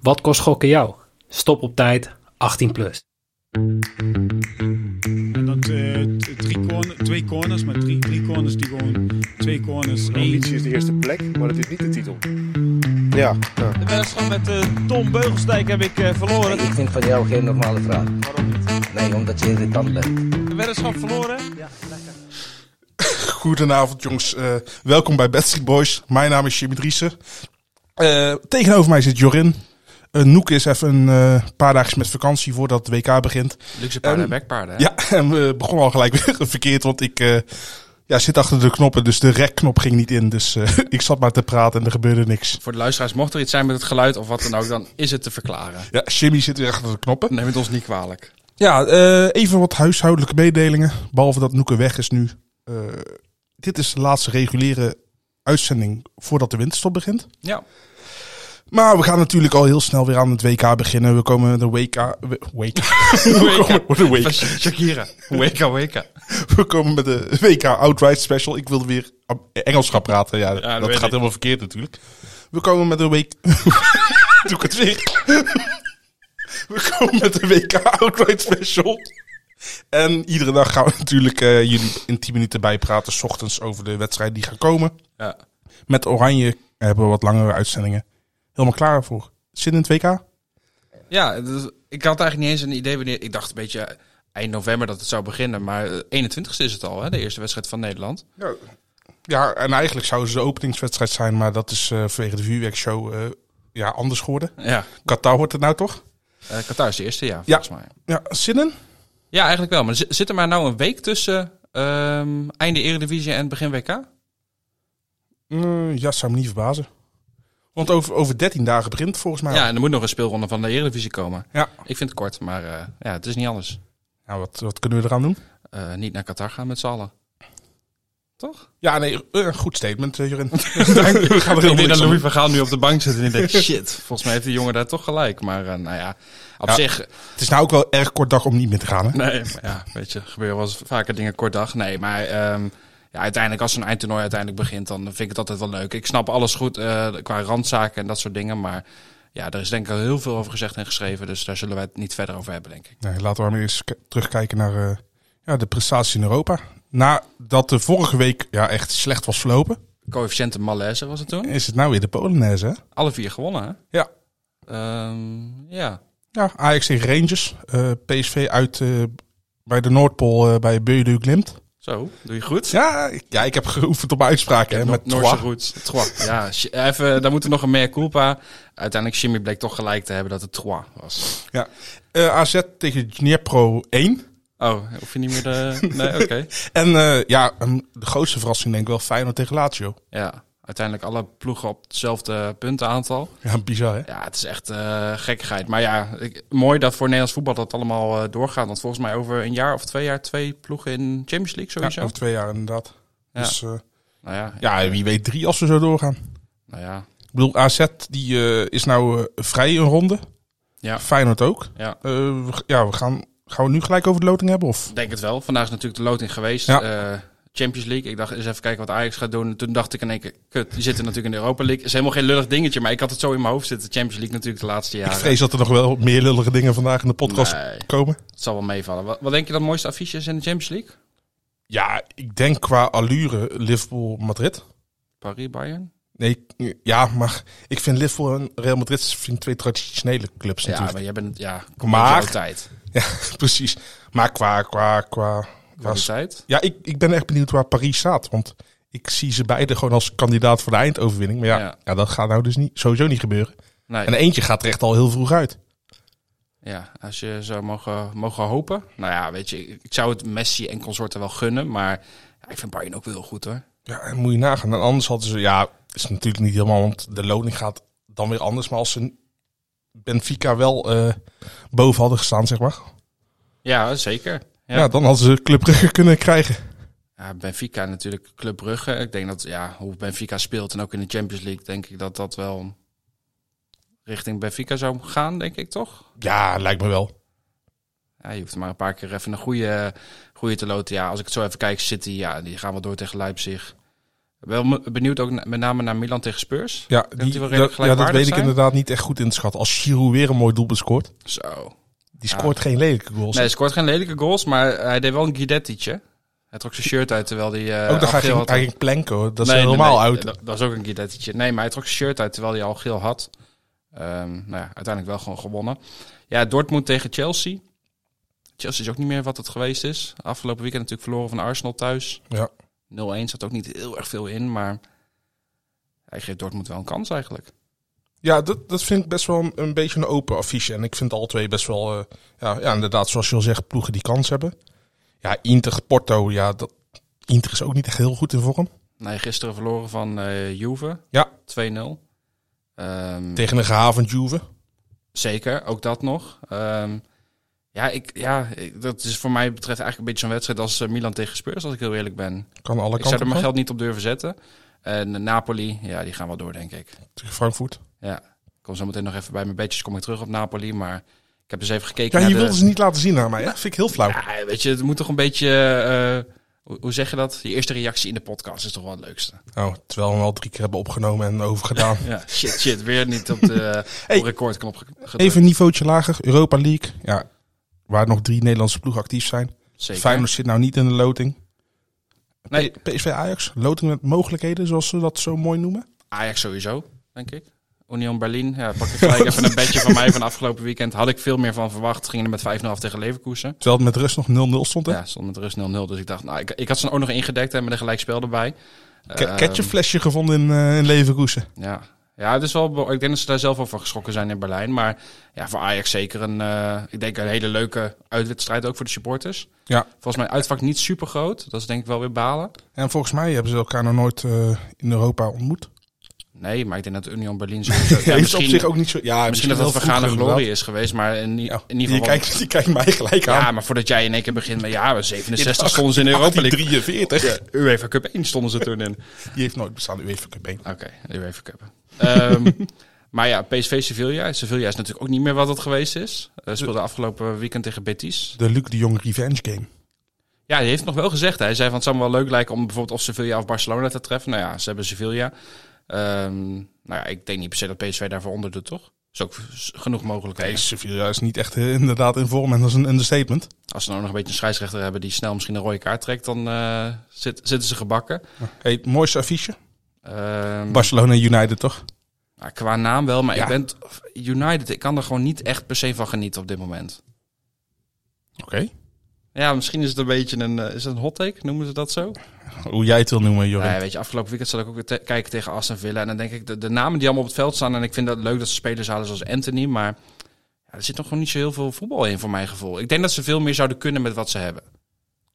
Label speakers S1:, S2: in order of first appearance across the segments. S1: Wat kost gokken jou? Stop op tijd, 18 plus.
S2: En dat eh, t- drie corner- twee corners, maar drie, drie corners die gewoon twee corners.
S3: De
S2: één.
S3: ambitie is de eerste plek, maar het is niet de titel. Ja, ja.
S4: De wedstrijd met eh, Tom Beugelsdijk heb ik eh, verloren.
S5: Ik vind van jou geen normale vraag.
S4: Waarom niet?
S5: Nee, omdat je irritant bent.
S4: De wedstrijd verloren.
S6: Goedenavond jongens, Eh, welkom bij Backstreet Boys. Mijn naam is Jimmy Driessen. Eh, tegenover mij zit Jorin. Eh, Noek is even een eh, paar dagen met vakantie voordat het WK begint.
S7: Luxe paarden
S6: Ehm,
S7: en bekpaarden. hè?
S6: Ja, en we begonnen al gelijk weer verkeerd, want ik eh, ja, zit achter de knoppen, dus de rekknop ging niet in. Dus eh, ik zat maar te praten en er gebeurde niks.
S7: Voor de luisteraars, mocht er iets zijn met het geluid of wat dan ook, dan is het te verklaren.
S6: Ja, Jimmy zit weer achter de knoppen.
S7: Neem het ons niet kwalijk.
S6: Ja, eh, even wat huishoudelijke mededelingen. Behalve dat Noeke weg is nu. Eh, dit is de laatste reguliere uitzending voordat de winterstop begint.
S7: Ja.
S6: Maar we gaan natuurlijk al heel snel weer aan het WK beginnen. We komen de WK... we- WK. We komen, voor de
S7: Van
S6: WK.
S7: Shakira. Weka, weka.
S6: we komen met de WK Outright Special. Ik wilde weer Am- Engels gaan praten. Ja,
S7: dat
S6: dat
S7: weet
S6: gaat
S7: ik.
S6: helemaal verkeerd natuurlijk. We komen met de WK... Doe ik het weer. we komen met de WK Outright Special. En iedere dag gaan we natuurlijk eh, jullie in 10 minuten bijpraten. S ochtends over de wedstrijden die gaan komen.
S7: Ja.
S6: Met Oranje hebben we wat langere uitzendingen. Helemaal klaar voor. Zin in het WK?
S7: Ja, dus ik had eigenlijk niet eens een idee wanneer. Ik dacht een beetje eh, eind november dat het zou beginnen. Maar eh, 21ste is het al, hè? de eerste wedstrijd van Nederland.
S6: Ja. ja, en eigenlijk zou ze de openingswedstrijd zijn, maar dat is eh, vanwege de vuurwerkshow eh, ja, anders geworden.
S7: Ja.
S6: Qatar wordt het nou toch?
S7: Eh Qatar is de eerste, ja, volgens mij.
S6: Ja, zinnen?
S7: Ja, eigenlijk wel. Maar zi- zit er maar nou een week tussen ehm, einde Eredivisie en begin WK?
S6: Eh, ja, zou me niet verbazen. Want over, over 13 dagen begint het volgens mij.
S7: Ja,
S6: al.
S7: en er moet nog een speelronde van de Eredivisie komen.
S6: ja.
S7: Ik vind het kort, maar eh, ja, het is niet anders.
S6: Nou, wat, wat kunnen we eraan doen?
S7: Eh, niet naar Qatar gaan met z'n allen. Toch?
S6: Ja, nee, eh, goed statement, eh, Jorin. we gaan er
S7: Ik denk
S6: helemaal
S7: dat
S6: niks
S7: Louis
S6: om.
S7: van Gaal nu op de bank zit en ik denk, shit, volgens mij heeft die jongen daar toch gelijk. Maar eh, nou ja, op
S6: Ja.
S7: zich,
S6: Het is nou ook wel erg kort dag om niet meer te gaan, hè?
S7: nee, maar ja, weet je, gebeuren wel eens vaker dingen kort dag. Nee, maar ehm, ja, uiteindelijk als zo'n eindtoernooi uiteindelijk begint, dan vind ik het altijd wel leuk. Ik snap alles goed eh, qua randzaken en dat soort dingen, maar ja, er is denk ik al heel veel over gezegd en geschreven, dus daar zullen wij het niet verder over hebben, denk ik.
S6: Nee, laten we maar eens k- terugkijken naar eh, ja, de prestaties in Europa. Nadat de vorige week ja, echt slecht was verlopen,
S7: Coëfficiënte malaise was het toen.
S6: is het nou weer de Polonaise, hè?
S7: Alle vier gewonnen, hè?
S6: Ja.
S7: Ehm, ja.
S6: Ja, Ajax tegen Rangers. Eh, PSV uit eh, bij de Noordpool eh, bij Beudu Glimt.
S7: Zo, doe je goed.
S6: Ja, ik- ja, ik heb geoefend op mijn uitspraken. Hè, met
S7: met Noorse
S6: Trois.
S7: roots. Trois. Ja, shi- even, daar moeten we nog een meer culpa. Uiteindelijk Jimmy bleek toch gelijk te hebben dat het Trois was.
S6: Ja. Eh, AZ tegen Dnipro 1.
S7: Oh, hoef je niet meer de... Nee, oké.
S6: En eh, ja, een- de grootste verrassing denk ik wel Feyenoord tegen Lazio.
S7: Ja, uiteindelijk alle ploegen op hetzelfde puntenaantal.
S6: Ja, bizar hè?
S7: Ja, het is echt eh gekkigheid. Maar ja, ik- mooi dat voor Nederlands voetbal dat allemaal eh, doorgaat. Want volgens mij over een jaar of twee jaar twee ploegen in Champions League sowieso.
S6: Ja, over twee jaar inderdaad.
S7: Ja.
S6: Dus eh,
S7: nou ja,
S6: ja, wie weet drie als we zo doorgaan.
S7: Nou ja,
S6: Ik bedoel, AZ die, eh, is nou eh, vrij een ronde.
S7: Ja.
S6: Feyenoord ook.
S7: ja.
S6: Eh, we, ja, we gaan, gaan we nu gelijk over de loting hebben? Of?
S7: Ik denk het wel. Vandaag is natuurlijk de loting geweest.
S6: Ja.
S7: Eh, Champions League. Ik dacht eens even kijken wat Ajax gaat doen. Toen dacht ik in één keer, kut, die zitten natuurlijk in de Europa League. Is helemaal geen lullig dingetje, maar ik had het zo in mijn hoofd zitten. Champions League natuurlijk de laatste
S6: Ik
S7: jaren.
S6: vrees dat er nog wel meer lullige dingen vandaag in de podcast
S7: Nee.
S6: komen.
S7: Het zal wel meevallen. Wat, wat denk je dat mooiste affiche is in de Champions League?
S6: Ja, ik denk qua allure Liverpool-Madrid.
S7: Paris, Bayern?
S6: Nee, ik- ja, maar ik vind Liverpool en Real Madrid vind ik twee traditionele clubs
S7: Ja,
S6: natuurlijk.
S7: maar jij bent, ja,
S6: Maar-
S7: Kwaliteit.
S6: Ja, precies. Maar qua, qua, qua...
S7: dus-
S6: qua
S7: Kwaliteit?
S6: ja, ik, ik ben echt benieuwd waar Paris staat. Want ik zie ze beide gewoon als kandidaat voor de eindoverwinning. Maar ja, ja.
S7: Ja.
S6: dat gaat nou dus niet, sowieso niet gebeuren.
S7: Nee.
S6: En eentje gaat er echt al heel vroeg uit.
S7: Ja, als je zou mogen, mogen hopen. Nou ja, weet je, ik zou het Messi en consorten wel gunnen, maar ja, ik vind Bayern ook wel heel goed hoor.
S6: Ja, en moet je nagaan. En anders hadden ze, ja, is natuurlijk niet helemaal, want de loning gaat dan weer anders. Maar als ze Benfica wel eh, boven hadden gestaan, zeg maar.
S7: Ja, zeker.
S6: Ja, dan hadden ze Club Brugge kunnen krijgen.
S7: Ja, Benfica natuurlijk, Club Brugge. Ik denk dat ja, hoe Benfica speelt en ook in de Champions League, denk ik dat dat wel richting Benfica zou gaan, denk ik toch?
S6: Ja, lijkt me wel.
S7: Ja, je hoeft maar een paar keer even een goede, goede te loten. Ja, als ik het zo even kijk, City, ja, die gaan wel door tegen Leipzig. Wel me- benieuwd ook na- met name naar Milan tegen Spurs.
S6: Ja,
S7: dat die
S6: die,
S7: wel redelijk
S6: dat, ja, dat
S7: gelijkwaardig
S6: weet ik
S7: zijn.
S6: inderdaad niet echt goed in te schatten. Als Giroud weer een mooi doelpunt scoort.
S7: Zo.
S6: Die scoort geen lelijke goals.
S7: Nee, hij scoort geen lelijke goals, maar hij deed wel een guidettietje. Hij trok zijn shirt uit terwijl hij... eh,
S6: ook dan
S7: al
S6: ga
S7: geel
S6: je
S7: had.
S6: eigenlijk planken hoor. Dat is
S7: Nee, nee,
S6: helemaal
S7: nee,
S6: uit.
S7: Dat, dat is ook een guidettietje. Nee, maar hij trok zijn shirt uit terwijl hij al geel had. Ehm, nou ja, uiteindelijk wel gewoon gewonnen. Ja, Dortmund tegen Chelsea. Chelsea is ook niet meer wat het geweest is. Afgelopen weekend natuurlijk verloren van Arsenal thuis.
S6: Ja.
S7: 0-1 zat ook niet heel erg veel in, maar... Hij geeft Dortmund wel een kans eigenlijk.
S6: Ja, dat, dat vind ik best wel een, een beetje een open affiche. En ik vind alle twee best wel, eh, ja, ja, inderdaad, zoals je al zegt, ploegen die kans hebben. Ja, Inter, Porto, ja, dat, Inter is ook niet echt heel goed in vorm.
S7: Nee, gisteren verloren van eh, Juve.
S6: Ja.
S7: 2-0. Ehm,
S6: Tegen een gehavend Juve.
S7: Zeker, ook dat nog. Ehm, ja, ik, ja ik- dat is voor mij betreft eigenlijk een beetje zo'n wedstrijd als eh, Milan tegen Spurs, als ik heel eerlijk ben.
S6: Kan alle
S7: Ik zou er
S6: kanten
S7: mijn
S6: gaan.
S7: geld niet op durven zetten. En eh, Napoli, ja, die gaan wel door, denk ik.
S6: Tegen Frankfurt.
S7: Ja, ik kom zo meteen nog even bij mijn bedjes, kom ik terug op Napoli, maar ik heb dus even gekeken
S6: Ja, je
S7: naar
S6: wilde
S7: de...
S6: ze niet laten zien aan mij. Hè? Dat vind ik heel flauw.
S7: Ja, weet je, het moet toch een beetje, eh, hoe, hoe zeg je dat? Je eerste reactie in de podcast is toch wel het leukste.
S6: Oh, terwijl we hem al drie keer hebben opgenomen en overgedaan.
S7: Ja, shit, shit, weer niet op de
S6: Hey.
S7: op recordknop ge- gedrukt.
S6: Even een niveautje lager. Europa League. Ja, waar nog drie Nederlandse ploegen actief zijn.
S7: Zeker.
S6: Feyenoord zit nou niet in de loting.
S7: Nee.
S6: P- PSV Ajax. Loting met mogelijkheden, zoals ze dat zo mooi noemen.
S7: Ajax sowieso, denk ik. Union Berlin, ja, pak ik gelijk even een bedje van mij van afgelopen weekend. Had ik veel meer van verwacht. Gingen er met 5-0 af tegen Leverkusen.
S6: Terwijl het met rust nog 0-0 stond. Hè?
S7: Ja, stond met rust 0-0. Dus ik dacht, nou, ik, ik had ze ook nog ingedekt en met een gelijkspel erbij.
S6: Ke-
S7: Ehm,
S6: Ketchupflesje gevonden in, eh, in Leverkusen.
S7: Ja. ja, het is wel, be- ik denk dat ze daar zelf wel van geschrokken zijn in Berlijn. Maar ja, voor Ajax zeker een, eh, ik denk een hele leuke uitwedstrijd ook voor de supporters.
S6: Ja.
S7: Volgens mij uitvak niet super groot. Dat is denk ik wel weer balen.
S6: En volgens mij hebben ze elkaar nog nooit eh, in Europa ontmoet.
S7: Nee, maar ik denk dat Union Berlin sowieso... Ja,
S6: Ja, is op
S7: misschien,
S6: zich ook niet zo... Ja,
S7: misschien dat het
S6: wel
S7: vergane
S6: vroeger,
S7: glorie
S6: inderdaad.
S7: is geweest. Maar in, i-
S6: Ja,
S7: in ieder
S6: die,
S7: geval...
S6: kijkt, die kijkt mij gelijk aan.
S7: Ja, maar voordat jij in één keer begint met ja, we 67
S6: In
S7: stonden ze in de Europa League.
S6: 43.
S7: UEFA Cup 1 stonden ze toen in.
S6: Die heeft nooit bestaan, de UEFA Cup één.
S7: Oké, UEFA Cup. Ehm, maar ja, PSV Sevilla. Sevilla is natuurlijk ook niet meer wat het geweest is. Eh speelde afgelopen weekend tegen Betis.
S6: De Luc de Jong revenge game.
S7: Ja, die heeft het nog wel gezegd. Hij zei van het zou me wel leuk lijken om bijvoorbeeld of Sevilla of Barcelona te treffen. Nou ja, ze hebben Sevilla. Ehm, nou ja, ik denk niet per se dat PSV daarvoor onder doet, toch? Is ook genoeg mogelijkheden.
S6: Nee, Sevilla is niet echt eh, inderdaad in vorm. En dat is een understatement.
S7: Als ze nou nog een beetje een scheidsrechter hebben die snel misschien een rode kaart trekt, dan eh, zit, zitten ze gebakken.
S6: Hey, het mooiste affiche.
S7: Hmm. Ehm,
S6: Barcelona United, toch?
S7: Nou, qua naam wel, maar
S6: Ja.
S7: ik ben t- United. Ik kan er gewoon niet echt per se van genieten op dit moment.
S6: Oké.
S7: Ja, misschien is het een beetje een, eh, is het een hot take, noemen ze dat zo?
S6: Hoe jij het wil noemen, Jorrit.
S7: Nee, weet je, afgelopen weekend zat ik ook weer te- kijken tegen Aston Villa. En dan denk ik, de, de namen die allemaal op het veld staan. En ik vind dat leuk dat ze spelers halen zoals Anthony. Maar ja, er zit nog gewoon niet zo heel veel voetbal in, voor mijn gevoel. Ik denk dat ze veel meer zouden kunnen met wat ze hebben.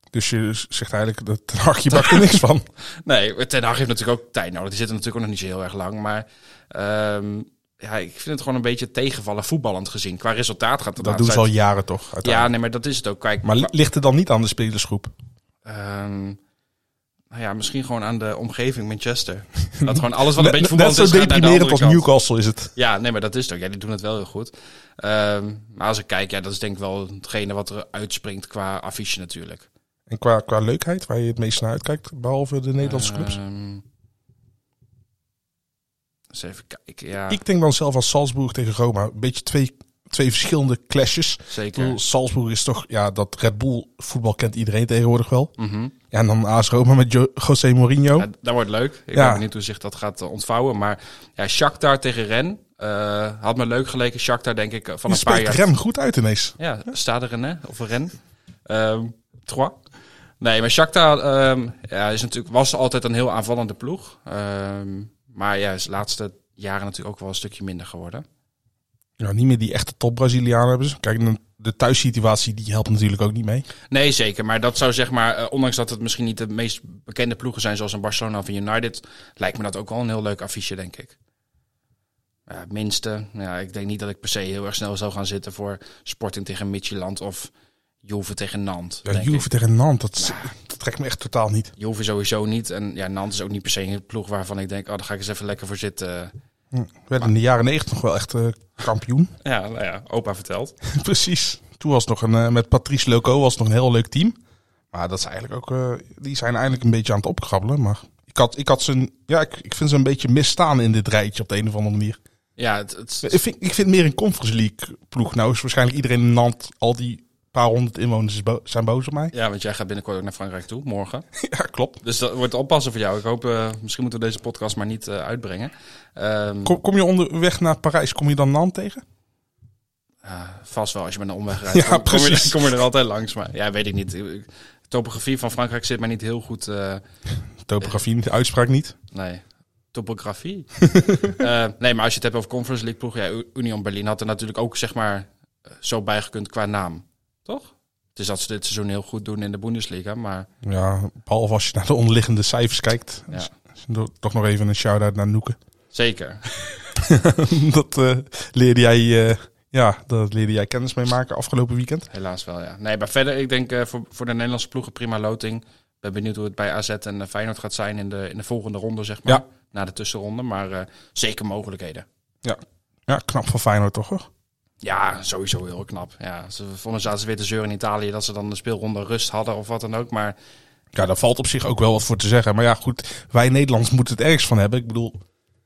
S6: Dus je zegt eigenlijk, dat Ten Hag, je bakt er niks van.
S7: Nee, Ten Hag heeft natuurlijk ook tijd nodig. Die zit er natuurlijk ook nog niet zo heel erg lang. Maar ehm, ja, ik vind het gewoon een beetje tegenvallen, voetballend gezien. Qua resultaat gaat het
S6: Dat doen ze al
S7: laatst
S6: jaren toch?
S7: uit- Ja,
S6: uiteindelijk.
S7: nee, maar dat is het ook. Kijk,
S6: Maar li- ligt het dan niet aan de spelersgroep?
S7: Ehm, nou ja, misschien gewoon aan de omgeving Manchester. Dat gewoon alles wat een beetje
S6: Net- net
S7: voetbal
S6: zo
S7: is, gaat naar de
S6: deprimerend
S7: andere
S6: als
S7: kant.
S6: Newcastle is het.
S7: Ja, nee, maar dat is het ook. Ja, die doen het wel heel goed. Ehm, maar als ik kijk, ja, dat is denk ik wel hetgene wat er uitspringt qua affiche natuurlijk.
S6: En qua, qua leukheid, waar je het meest naar uitkijkt, behalve de Nederlandse clubs.
S7: Ehm, eens even kijken, ja,
S6: Ik denk dan zelf aan Salzburg tegen Roma. Een beetje twee, twee verschillende clashes. Ik
S7: zeker.
S6: bedoel, Salzburg is toch, ja, dat Red Bull voetbal kent iedereen tegenwoordig wel.
S7: Mhm.
S6: Ja, en dan AS Roma met Jo- José Mourinho.
S7: Ja, dat wordt leuk. Ik
S6: Oh. Ja.
S7: ben benieuwd hoe zich dat gaat eh, ontvouwen. Maar ja, Shakhtar tegen Ren eh, had me leuk geleken. Shakhtar denk ik eh, van
S6: Die
S7: een paar
S6: spreekt
S7: jaar
S6: Rem goed uit ineens.
S7: Ja, Stade René of Ren. Ehm Trois. Nee, maar Shakhtar ehm, ja, is natuurlijk, was altijd een heel aanvallende ploeg. Ehm, maar ja, is de laatste jaren natuurlijk ook wel een stukje minder geworden.
S6: Ja, niet meer die echte top Brazilianen hebben ze. Kijk, de- de thuissituatie die helpt natuurlijk ook niet mee.
S7: Nee, zeker. Maar dat zou zeg maar, eh, ondanks dat het misschien niet de meest bekende ploegen zijn zoals een Barcelona of een United, lijkt me dat ook wel een heel leuk affiche, denk ik. Ja, het minste. Ja, ik denk niet dat ik per se heel erg snel zou gaan zitten voor Sporting tegen Midtjylland of Juve tegen Nantes.
S6: Ja,
S7: denk ik.
S6: Juve tegen Nantes, dat, is- dat trekt me echt totaal niet.
S7: Juve sowieso niet. En ja, Nantes is ook niet per se een ploeg waarvan ik denk, oh, daar ga ik eens even lekker voor zitten.
S6: Hm, We werden in de jaren negentig nog wel echt eh, kampioen.
S7: Ja, nou ja, opa vertelt.
S6: Precies. Toen was het nog een, eh, met Patrice Loco was het nog een heel leuk team. Maar dat is eigenlijk ook, eh, die zijn eigenlijk een beetje aan het opkrabbelen. Maar ik Ik had, ik had zijn, ja, ik, ik vind ze een beetje misstaan in dit rijtje op de een of andere manier.
S7: Ja, het, het-
S6: Ik vind, ik vind meer een Conference League ploeg. Nou is waarschijnlijk iedereen in Nant, al die paar honderd inwoners is bo- zijn boos op mij.
S7: ja, want jij gaat binnenkort ook naar Frankrijk toe, morgen.
S6: Ja, klopt.
S7: Dus dat wordt oppassen voor jou. Ik hoop, eh, misschien moeten we deze podcast maar niet eh, uitbrengen. Ehm,
S6: Kom, kom je onderweg naar Parijs, kom je dan Nant tegen?
S7: ja, vast wel, als je met een omweg rijdt,
S6: Ja,
S7: kom, kom, je,
S6: precies.
S7: kom je er altijd langs. Maar ja, weet ik niet. De topografie van Frankrijk zit mij niet heel goed... eh,
S6: Topografie, de uitspraak niet.
S7: Nee, topografie. Eh, nee, maar als je het hebt over Conference League ploeg, ja, U- Union Berlin had er natuurlijk ook zeg maar eh, zo bijgekund qua naam, toch? Het is dat ze dit seizoen heel goed doen in de Bundesliga, maar
S6: Ja, behalve als je naar de onderliggende cijfers kijkt.
S7: Ja.
S6: Dus- dus Toch nog even een shout-out naar Noeke.
S7: zeker.
S6: dat eh, leerde jij, eh, ja, dat leerde jij kennis mee maken afgelopen weekend.
S7: Helaas wel, ja. Nee, maar verder, ik denk eh, voor, voor de Nederlandse ploegen prima loting. Ben benieuwd hoe het bij AZ en eh, Feyenoord gaat zijn in de, in de volgende ronde, zeg maar.
S6: Ja.
S7: Na de tussenronde, maar eh, zeker mogelijkheden.
S6: Ja, knap van Feyenoord toch hoor.
S7: Ja, sowieso heel knap. Ja, ze vonden zaten ze weer te zeuren in Italië dat ze dan de speelronde rust hadden of wat dan ook. Maar
S6: Ja, daar valt op zich ook wel wat voor te zeggen. Maar ja, goed, wij Nederlands moeten het ergens van hebben. Ik bedoel,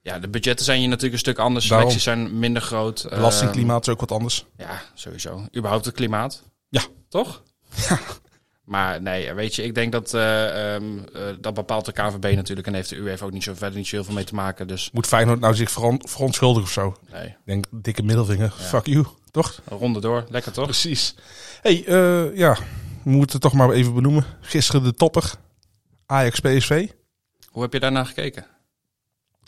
S7: Ja, de budgetten zijn hier natuurlijk een stuk anders.
S6: Daarom.
S7: Selecties zijn minder groot. eh,
S6: belastingklimaat is ook wat anders.
S7: ja, sowieso. Überhaupt het klimaat.
S6: Ja.
S7: Toch? Maar nee, weet je, ik denk dat eh, ehm, eh, dat bepaalt de KVB natuurlijk. En heeft de UEFA ook niet zo verder niet zo heel veel mee te maken. Dus
S6: Moet Feyenoord nou zich veron- verontschuldigen of zo?
S7: nee,
S6: Ik denk, dikke middelvinger, fuck you, toch?
S7: een ronde door. Lekker toch?
S6: Precies. hey, eh, ja, we moeten het toch maar even benoemen. Gisteren de topper, Ajax-PSV.
S7: Hoe heb je daarna gekeken?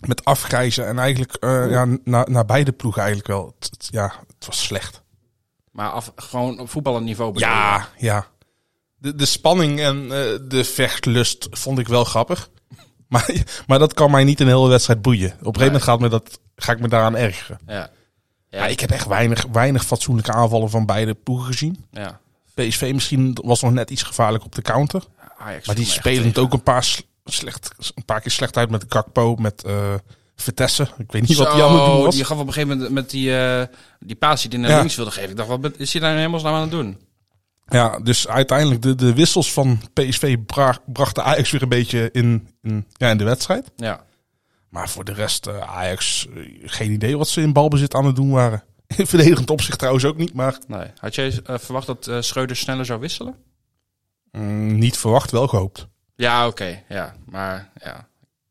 S6: Met afgrijzen en eigenlijk eh, ja, naar naar beide ploegen eigenlijk wel. Het- het- ja, het was slecht.
S7: Maar af, gewoon op voetballend niveau bedoel je?
S6: Ja, ja. De, de spanning en eh, de vechtlust vond ik wel grappig. Maar, maar dat kan mij niet een hele wedstrijd boeien. Op een gegeven moment gaat me dat, ga ik me daaraan ergeren.
S7: Ja. Ja,
S6: Maar ik heb echt weinig, weinig fatsoenlijke aanvallen van beide ploegen gezien.
S7: ja.
S6: PSV misschien was nog net iets gevaarlijk op de counter.
S7: Ajax viel
S6: Maar die
S7: me echt
S6: spelen het
S7: tegen.
S6: ook een paar, sl- slecht, een paar keer slecht uit met Kakpo, met eh Vitesse. Ik weet niet wat die aan het doen
S7: Zo,
S6: was.
S7: die gaf op een gegeven moment met die, eh die paas die hij naar
S6: Ja.
S7: links wilde geven. Ik dacht, wat is hij daar helemaal aan het doen?
S6: Ja, dus uiteindelijk de, de wissels van PSV bra- brachten Ajax weer een beetje in, in, ja, in de wedstrijd.
S7: Ja.
S6: Maar voor de rest, eh, Ajax, eh, geen idee wat ze in balbezit aan het doen waren. In verdedigend opzicht trouwens ook niet, maar
S7: Nee. Had jij eh, verwacht dat eh Schreuder sneller zou wisselen?
S6: mm, niet verwacht, wel gehoopt.
S7: Ja, oké. Ja, maar ja.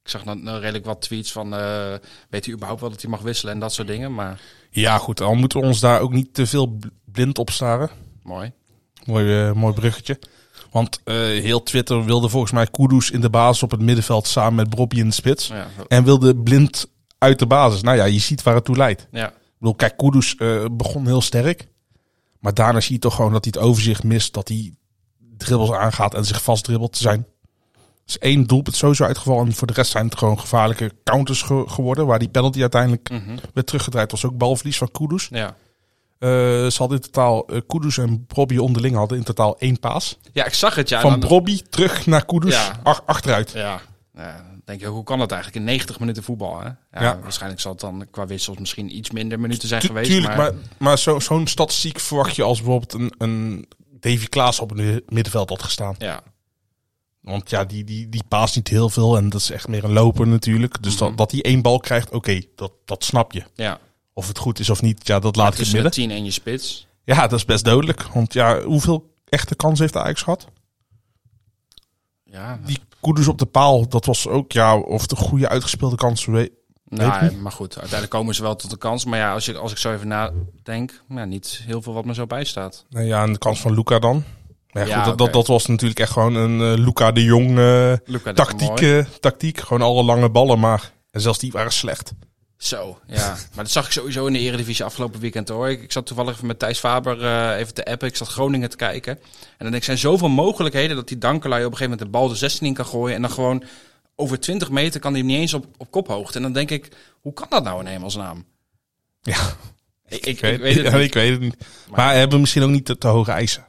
S7: Ik zag dan eh, redelijk wat tweets van, eh, weet u überhaupt wel dat hij mag wisselen en dat soort dingen. Maar
S6: Ja goed, al moeten we ons daar ook niet te veel bl- blind op staren.
S7: mooi.
S6: Mooi, eh, mooi bruggetje. Want eh, heel Twitter wilde volgens mij Kudus in de basis op het middenveld samen met Bobby in de spits.
S7: Ja,
S6: En wilde blind uit de basis. Nou ja, je ziet waar het toe leidt.
S7: ja.
S6: Ik bedoel, kijk, Kudus eh, begon heel sterk. Maar daarna zie je toch gewoon dat hij het overzicht mist. Dat hij dribbels aangaat en zich vastdribbelt te zijn. Dus één doelpunt sowieso uitgevallen. En voor de rest zijn het gewoon gevaarlijke counters ge- geworden. Waar die penalty uiteindelijk
S7: Mhm.
S6: werd teruggedraaid. was ook balverlies van Kudus.
S7: ja.
S6: Eh, ze hadden in totaal... eh Kudus en Brobby onderling hadden in totaal één paas.
S7: ja, ik zag het. Ja,
S6: van
S7: Dan-
S6: Brobby terug naar Kudus.
S7: Ja.
S6: ach- achteruit.
S7: Ja. ja. dan Denk je, hoe kan dat eigenlijk in 90 minuten voetbal? Hè? Ja,
S6: Ja.
S7: Waarschijnlijk zal het dan qua wissels misschien iets minder minuten zijn
S6: Tu-
S7: geweest.
S6: tuurlijk,
S7: maar
S6: maar, maar zo- zo'n statistiek verwacht je als bijvoorbeeld een, een Davy Klaas op het middenveld had gestaan.
S7: ja.
S6: Want ja, die, die, die paast niet heel veel en dat is echt meer een loper natuurlijk. Dus
S7: Mhm.
S6: dat, dat hij één bal krijgt, oké, dat, dat snap je.
S7: ja.
S6: Of het goed is of niet, ja, dat laat ik in het
S7: Tussen de
S6: midden.
S7: 10 en je spits.
S6: Ja, dat is best dodelijk. Want ja, hoeveel echte kansen heeft Ajax gehad?
S7: Ja,
S6: Die Koeders op de paal, dat was ook, ja, of de goede uitgespeelde kansen. we- Weet ik
S7: Nou, maar goed, uiteindelijk komen ze wel tot de kans. Maar ja, als, je, als ik zo even nadenk, nou, niet heel veel wat me zo bijstaat.
S6: Nou ja, en de kans van Luca dan. Maar ja,
S7: Ja,
S6: goed, dat,
S7: oké.
S6: dat, dat was natuurlijk echt gewoon een eh, Luca de Jong eh,
S7: Luca, dat is
S6: tactiek,
S7: mooi.
S6: eh, tactiek. Gewoon alle lange ballen, maar en zelfs die waren slecht.
S7: Zo, ja. maar dat zag ik sowieso in de Eredivisie afgelopen weekend hoor. Ik, ik zat toevallig even met Thijs Faber eh, even te appen. Ik zat Groningen te kijken. En dan denk ik, zijn zoveel mogelijkheden dat die Dankelui op een gegeven moment de bal de 16 in kan gooien. En dan gewoon over 20 meter kan hij hem niet eens op, op kophoogte. En dan denk ik, hoe kan dat nou in hemelsnaam?
S6: Ja.
S7: Ik, ik, ik weet het
S6: ja,
S7: niet.
S6: ik weet het niet. Maar, hebben we misschien ook niet te, te hoge eisen.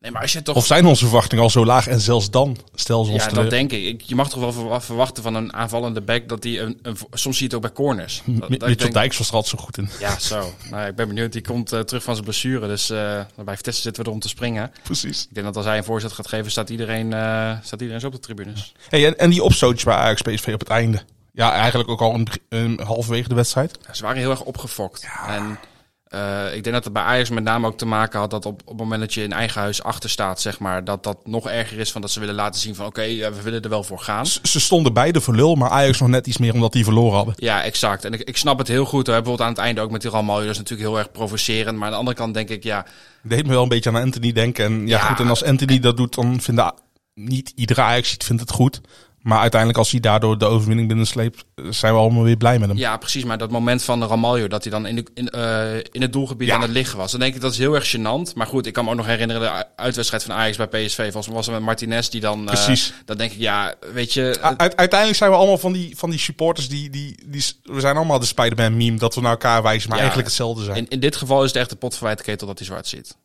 S7: Nee, maar als je toch...
S6: Of zijn onze verwachtingen al zo laag en zelfs dan stel ze ons
S7: ja,
S6: teleur?
S7: dat denk ik. Ik- Je mag toch wel verwa- verwachten van een aanvallende back dat die een, een- Soms zie je het ook bij corners. Dat- dat ik
S6: Mi- Mitchell
S7: denk-
S6: Dijks was er altijd zo goed in.
S7: Ja, zo. Nou, ja, ik ben benieuwd. Die komt eh, terug van zijn blessure. Dus eh, bij Vitesse zitten we erom te springen.
S6: Precies.
S7: Ik denk dat als hij een voorzet gaat geven, staat iedereen, eh, staat iedereen zo op de tribunes.
S6: Hey, en, en die opstootjes bij Ajax PSV op het einde. Ja, eigenlijk ook al een, een halverwege de wedstrijd.
S7: Ze waren heel erg opgefokt. En eh, ik denk dat het bij Ajax met name ook te maken had dat op, op het moment dat je in eigen huis achter staat, zeg maar, dat dat nog erger is van dat ze willen laten zien van oké, eh, we willen er wel voor gaan.
S6: Ze- Ze stonden beide voor lul, maar Ajax nog net iets meer omdat die verloren hadden.
S7: Ja, exact. En ik, ik snap het heel goed. Hè. Bijvoorbeeld aan het einde ook met die Ramaljo. Dat is natuurlijk heel erg provocerend. Maar aan de andere kant denk ik, ja,
S6: Deed me wel een beetje aan Anthony denken. En ja,
S7: Ja.
S6: goed, en als Anthony dat doet, dan vinden A- niet iedere Ajax vindt het goed. Maar uiteindelijk als hij daardoor de overwinning binnensleept, eh, zijn we allemaal weer blij met hem.
S7: Ja, precies. Maar dat moment van Ramaljo, dat hij dan in, de, in, eh, in het doelgebied
S6: Ja.
S7: aan het liggen was. Dan denk ik, dat is heel erg gênant. Maar goed, ik kan me ook nog herinneren de u- uitwedstrijd van Ajax bij PSV. Volgens mij was het met Martinez die dan... eh,
S6: Precies.
S7: Dan denk ik, ja, weet je...
S6: U- uite- uiteindelijk zijn we allemaal van die, van die supporters die, die, die. s- We zijn allemaal de Spider-Man meme dat we naar elkaar wijzen, maar
S7: Ja.
S6: eigenlijk hetzelfde zijn.
S7: in, in dit geval is het echt de potverwijtketel dat hij zwart ziet.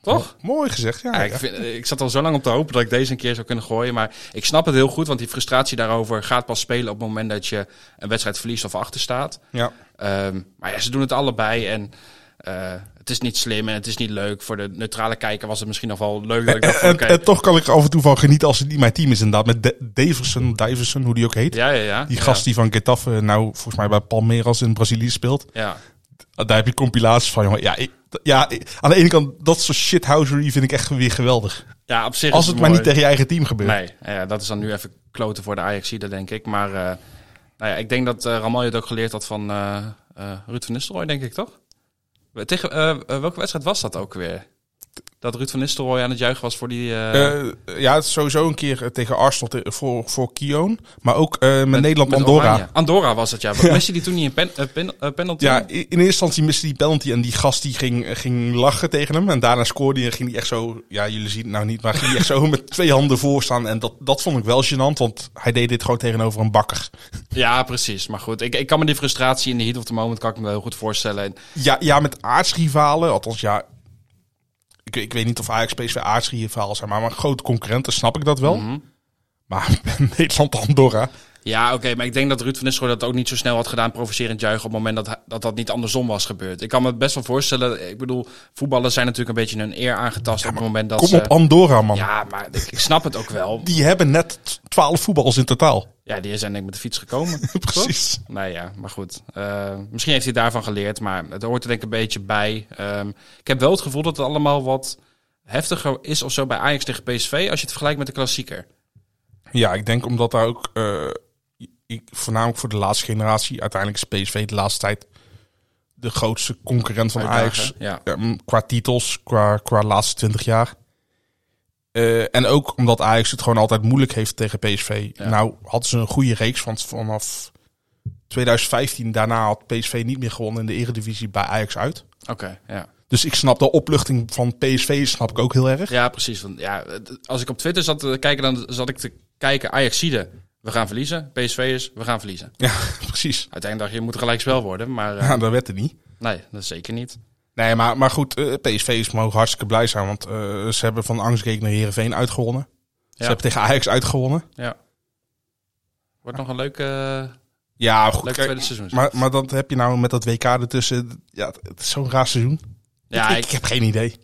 S7: Toch?
S6: Mooi gezegd, ja.
S7: Ja,
S6: ja.
S7: ik, vind- ik zat al zo lang op te hopen dat ik deze een keer zou kunnen gooien. Maar ik snap het heel goed, want die frustratie daarover gaat pas spelen op het moment dat je een wedstrijd verliest of achter staat.
S6: Ja.
S7: Ehm, maar ja, ze doen het allebei en eh, het is niet slim en het is niet leuk. Voor de neutrale kijker was het misschien nog wel leuk dat ik dacht van,
S6: En,
S7: oké.
S6: en Eh, toch kan ik er af en toe van genieten als het niet mijn team is inderdaad. Met De- Daverson, Diverson, hoe die ook heet.
S7: Ja, ja, ja.
S6: Die
S7: Ja.
S6: gast die van Getafe nou volgens mij bij Palmeiras in Brazilië speelt.
S7: Ja.
S6: Ah, Daar heb je compilaties van, jongen. Ja, ik, d- ja ik- aan de ene kant, dat soort shithousery vind ik echt weer geweldig.
S7: ja, op zich
S6: Als
S7: is
S6: het maar
S7: mooi.
S6: niet tegen je eigen team gebeurt.
S7: Nee, nou ja, dat is dan nu even kloten voor de Ajaxide, denk ik. Maar eh, nou ja, ik denk dat eh Ramaljo het ook geleerd had van eh, eh, Ruud van Nistelrooy, denk ik, toch? We- Tegen, eh, eh, welke wedstrijd was dat ook weer? Dat Ruud van Nistelrooy aan het juichen was voor die... eh,
S6: Eh, ja, het is sowieso een keer eh, tegen Arsenal te- voor, voor Kion. Maar ook eh, met, Nederland
S7: met
S6: Andorra.
S7: Oranje. Andorra was het, ja. Maar Miste die toen niet een pen, eh, pen- eh, penalty?
S6: Ja, in in eerste instantie miste die penalty en die gast die ging, ging lachen tegen hem. En daarna scoorde hij en ging hij echt zo, ja jullie zien het nou niet, maar ging hij echt zo met twee handen voor staan. En dat, dat vond ik wel gênant, want hij deed dit gewoon tegenover een bakker.
S7: Ja, precies. Maar goed, ik, ik kan me die frustratie in de heat of the moment kan ik me heel goed voorstellen. En
S6: Ja, ja met aardsrivalen, althans ja, ik, ik weet niet of Ajax PSV aardsrivalen zijn, maar, maar grote concurrenten snap ik dat wel.
S7: Mhm.
S6: Maar Nederland Andorra,
S7: Ja, oké, maar ik denk dat Ruud van Nistelrooy dat ook niet zo snel had gedaan, provocerend juichen op het moment dat hij- dat, dat niet andersom was gebeurd. Ik kan me het best wel voorstellen, ik bedoel, voetballers zijn natuurlijk een beetje hun eer aangetast op het moment dat
S6: kom
S7: ze...
S6: op Andorra man.
S7: eh, ja, maar ik, ik snap het ook wel.
S6: Die hebben net t- 12 voetballers in totaal.
S7: Ja, die zijn denk ik met de fiets gekomen.
S6: Precies.
S7: toch? Nou ja, maar goed. Eh, misschien heeft hij daarvan geleerd, maar het hoort er denk ik een beetje bij. Ehm, ik heb wel het gevoel dat het allemaal wat heftiger is of zo bij Ajax tegen PSV, als je het vergelijkt met de klassieker.
S6: Ja, ik denk omdat daar ook, eh, ik, voornamelijk voor de laatste generatie, uiteindelijk is PSV de laatste tijd de grootste concurrent van Ajax.
S7: Uitdagen, Ja.
S6: Ehm, qua titels, qua, qua laatste 20 jaar. Eh, en ook omdat Ajax het gewoon altijd moeilijk heeft tegen PSV.
S7: Ja.
S6: Nou hadden ze een goede reeks, want vanaf 2015 daarna had PSV niet meer gewonnen in de eredivisie bij Ajax uit.
S7: Oké, ja.
S6: Dus ik snap de opluchting van PSV snap ik ook heel erg.
S7: Ja, precies. Want ja, het- als ik op Twitter zat te kijken, dan zat ik te kijken. Ajaxide, we gaan verliezen. PSV'ers, we gaan verliezen.
S6: Ja, precies.
S7: Uiteindelijk dacht je, het moet gelijk spel worden. Maar eh,
S6: Ja, dat werd het niet.
S7: nee, dat is zeker niet.
S6: Nee, maar, maar goed, eh, PSV's mogen hartstikke blij zijn. Want eh, ze hebben van angstgekeken naar Heerenveen uitgewonnen. Ze hebben tegen Ajax uitgewonnen.
S7: Ja. Wordt nog een leuke, eh,
S6: Ja, goed.
S7: leuk
S6: kijk,
S7: tweede seizoen.
S6: maar, maar dat heb je nou met dat WK ertussen. Ja, het is zo'n raar seizoen.
S7: ja,
S6: ik,
S7: ik,
S6: ik heb geen idee.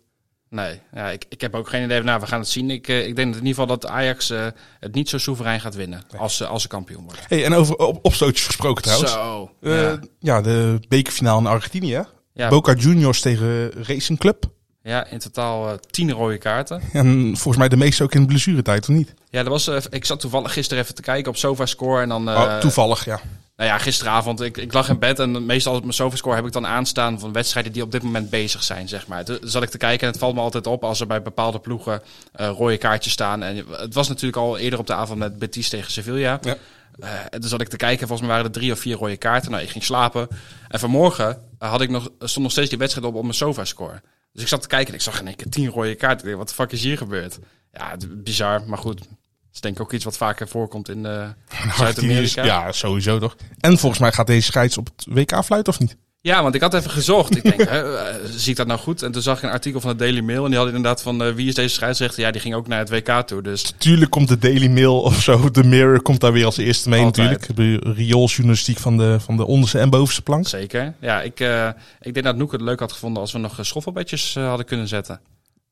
S7: nee, ja, ik, ik heb ook geen idee. Nou, we gaan het zien. Ik, eh, ik denk in ieder geval dat Ajax eh, het niet zo soeverein gaat winnen als, ze als ze kampioen worden.
S6: Hey, en over op, opstootjes gesproken trouwens.
S7: Zo.
S6: Eh, ja.
S7: ja.
S6: de bekerfinale in Argentinië. hè?
S7: Ja,
S6: Boca Juniors tegen Racing Club.
S7: ja, in totaal eh, tien rode kaarten.
S6: En volgens mij de meeste ook in de blessuretijd, of niet?
S7: Ja, dat was, eh, ik zat toevallig gisteren even te kijken op SofaScore. En dan, eh,
S6: oh, toevallig, ja.
S7: Nou ja, gisteravond, ik, ik lag in bed en meestal op mijn sofascore heb ik dan aanstaan van wedstrijden die op dit moment bezig zijn, zeg maar. Toen zat ik te kijken en het valt me altijd op als er bij bepaalde ploegen eh, rode kaartjes staan. En het was natuurlijk al eerder op de avond met Betis tegen Sevilla.
S6: Ja.
S7: Eh, en toen zat ik te kijken, volgens mij waren er drie of vier rode kaarten. Nou, ik ging slapen. En vanmorgen eh, had ik nog, stond nog steeds die wedstrijd op op mijn sofascore. Dus ik zat te kijken en ik zag in één keer tien rode kaarten. Ik dacht, wat de fuck is hier gebeurd? Ja, het- bizar, maar goed. Dat is denk ik ook iets wat vaker voorkomt in eh,
S6: Argentinië Nou, is-
S7: Zuid-Amerika.
S6: ja, sowieso toch. En volgens mij gaat deze scheids op het WK fluiten, of niet?
S7: Ja, want ik had even gezocht. Ik denk, hè, eh, zie ik dat nou goed? En toen zag ik een artikel van de Daily Mail. En die had inderdaad van, eh, wie is deze scheidsrechter? Ja, die ging ook naar het WK toe. Dus
S6: Tuurlijk komt de Daily Mail of zo, de Mirror komt daar weer als eerste mee
S7: Altijd.
S6: natuurlijk. De riooljournalistiek van de, van de onderste en bovenste plank.
S7: zeker. Ja, ik, eh, ik denk dat Noek het leuk had gevonden als we nog eh, schoffelbedjes eh, hadden kunnen zetten.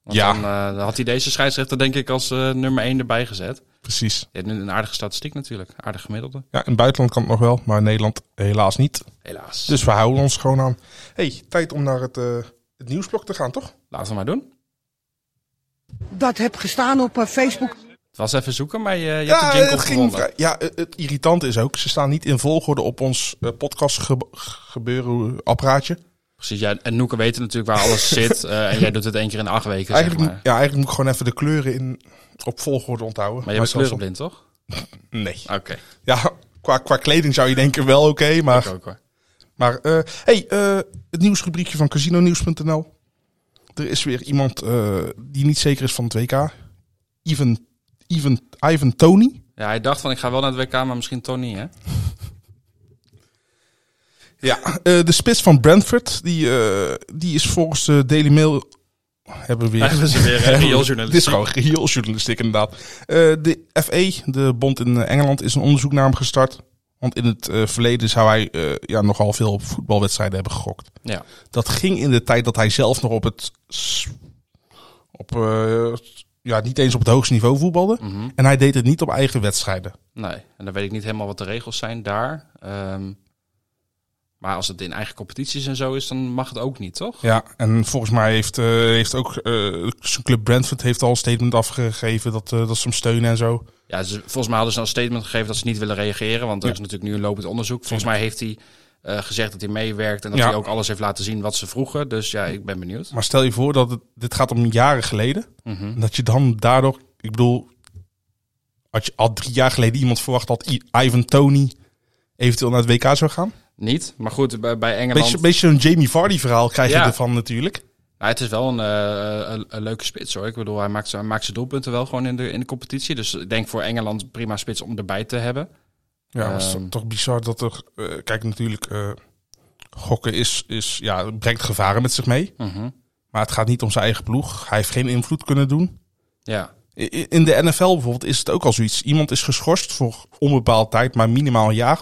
S7: Want
S6: Ja.
S7: dan, eh, dan had hij deze scheidsrechter denk ik als eh, nummer 1 erbij gezet.
S6: Precies.
S7: Ja, nu een aardige statistiek natuurlijk. Aardig gemiddelde.
S6: Ja, in het buitenland kan het nog wel, maar in Nederland helaas niet.
S7: Helaas. Dus
S6: Dus we houden ons gewoon aan. hey, tijd om naar het, eh, het nieuwsblok te gaan, toch?
S7: laten we maar doen.
S8: dat heb gestaan op eh, Facebook.
S7: Het was even zoeken, maar je, je hebt de jingle gevonden.
S6: vrij- Ja, eh, het irritante is ook, ze staan niet in volgorde op ons eh, podcast gebe- gebeuren apparaatje.
S7: Precies, ja. En Noeken weten natuurlijk waar alles zit. eh, en jij doet het één keer in de acht weken, zeg
S6: Eigenlijk,
S7: maar.
S6: moet- ja, eigenlijk moet ik gewoon even de kleuren in, op volgorde onthouden.
S7: Maar je bent
S6: zelfs
S7: kleurenblind, toch?
S6: op- Nee.
S7: Oké,
S6: Ja, qua, qua kleding zou je denken wel oké, maar...
S7: ik ook hoor.
S6: Maar eh hey, eh, het nieuwsrubriekje van casinonieuws.nl. Er is weer iemand eh, die niet zeker is van het WK. Ivan, Ivan, Ivan Tony.
S7: Ja, hij dacht van ik ga wel naar het WK, maar misschien toch niet, hè?
S6: Ja. Eh, de spits van Brentford, die, eh, die is volgens de Daily Mail... Hebben we weer...
S7: Hebben ze weer, hè, riooljournalistiek.
S6: Dit is gewoon riooljournalistiek, inderdaad. Eh, de FE, de bond in eh, Engeland, is een onderzoek naar hem gestart. Want in het eh, verleden zou hij eh, ja, nogal veel op voetbalwedstrijden hebben gegokt.
S7: Ja.
S6: Dat ging in de tijd dat hij zelf nog op het. s- Op, eh, ja, niet eens op het hoogste niveau voetbalde. En hij deed het niet op eigen wedstrijden.
S7: Mhm. Nee, en dan weet ik niet helemaal wat de regels zijn daar. Ehm, maar als het in eigen competities en zo is, dan mag het ook niet, toch?
S6: Ja, en volgens mij heeft, eh, heeft ook eh, zijn club Brentford heeft al een statement afgegeven dat, eh, dat ze hem steunen en zo.
S7: Ja, ze, volgens mij hadden ze al een statement gegeven dat ze niet willen reageren. Want er is natuurlijk nu een lopend onderzoek. Volgens mij heeft hij eh, gezegd dat hij meewerkt en dat
S6: Ja.
S7: hij ook alles heeft laten zien wat ze vroegen. Dus ja, ik ben benieuwd.
S6: Maar stel je voor dat het, dit gaat om jaren geleden.
S7: Mhm.
S6: Dat je dan daardoor, ik bedoel, had je al drie jaar geleden iemand verwacht dat I- Ivan Tony eventueel naar het WK zou gaan?
S7: Niet, maar goed, bij, bij Engeland...
S6: Beetje, beetje een Jamie Vardy verhaal krijg
S7: Ja.
S6: je ervan natuurlijk.
S7: Nou, het is wel een, eh, een, een leuke spits hoor. Ik bedoel, hij maakt, zijn- hij maakt zijn doelpunten wel gewoon in de, in de competitie. Dus ik denk voor Engeland prima spits om erbij te hebben.
S6: Ja, maar het is
S7: Ehm.
S6: toch bizar dat er... eh, kijk, natuurlijk, eh, gokken is, is, ja, het brengt gevaren met zich mee. Maar het gaat niet om zijn eigen ploeg. Hij heeft geen invloed kunnen doen.
S7: Ja.
S6: I- i- In de NFL bijvoorbeeld is het ook al zoiets. Iemand is geschorst voor onbepaald tijd, maar minimaal een jaar.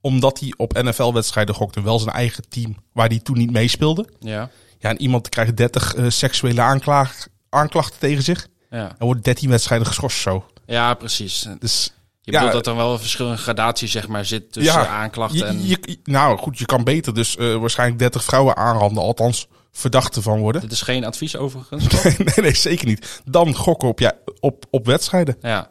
S6: Omdat hij op NFL-wedstrijden gokte. Wel zijn eigen team, waar hij toen niet meespeelde.
S7: ja,
S6: Ja, en iemand krijgt 30 eh, seksuele aanklaag- aanklachten tegen zich.
S7: ja,
S6: En wordt 13 wedstrijden geschorst zo.
S7: ja, precies. Je
S6: Dus
S7: bedoelt dat er wel een verschil in gradatie zeg maar, zit tussen aanklachten en...
S6: Je, je- nou goed, je kan beter dus eh, waarschijnlijk 30 vrouwen aanranden, althans verdachten van worden.
S7: Dit is geen advies overigens. toch?
S6: nee, nee, zeker niet. Dan gokken op, ja, op, op wedstrijden.
S7: ja.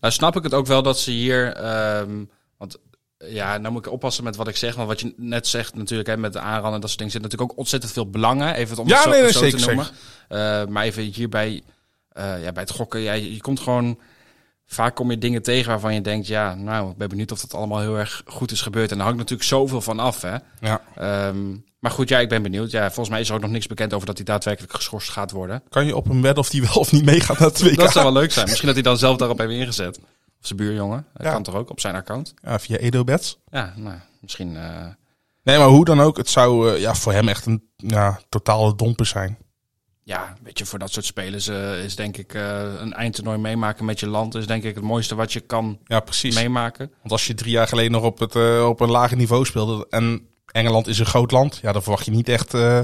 S7: Nou snap ik het ook wel dat ze hier... ehm, want ja, nou moet ik oppassen met wat ik zeg. Want wat je net zegt natuurlijk hè, met de aanranden en dat soort dingen... zit natuurlijk ook ontzettend veel belangen. Even het om
S6: Ja,
S7: het zo,
S6: nee, nee,
S7: zo
S6: zeker,
S7: te noemen. Eh, maar even hierbij... eh, ja, bij het gokken, ja, je, je komt gewoon... Vaak kom je dingen tegen waarvan je denkt... Ja, nou, ik ben benieuwd of dat allemaal heel erg goed is gebeurd. En daar hangt natuurlijk zoveel van af, hè.
S6: Ja.
S7: Ehm, maar goed, ja, ik ben benieuwd. Ja, volgens mij is er ook nog niks bekend over dat hij daadwerkelijk geschorst gaat worden.
S6: Kan je op een wedden of die wel of niet meegaat naar het WK?
S7: Dat zou wel leuk zijn. Misschien dat hij dan zelf daarop heeft ingezet. Of zijn buurjongen. Dat
S6: Ja.
S7: kan toch ook op zijn account.
S6: Ja, via Edobets.
S7: Ja, nou, misschien. eh,
S6: Nee, maar hoe dan ook, het zou eh, ja, voor hem echt een ja, totale domper zijn.
S7: ja, weet je, voor dat soort spelers eh, is denk ik eh, een eindtoernooi meemaken met je land. Is denk ik het mooiste wat je kan
S6: Ja, precies.
S7: meemaken.
S6: Want als je drie jaar geleden nog op, het, eh, op een lager niveau speelde en Engeland is een groot land, ja, dan verwacht je niet echt eh,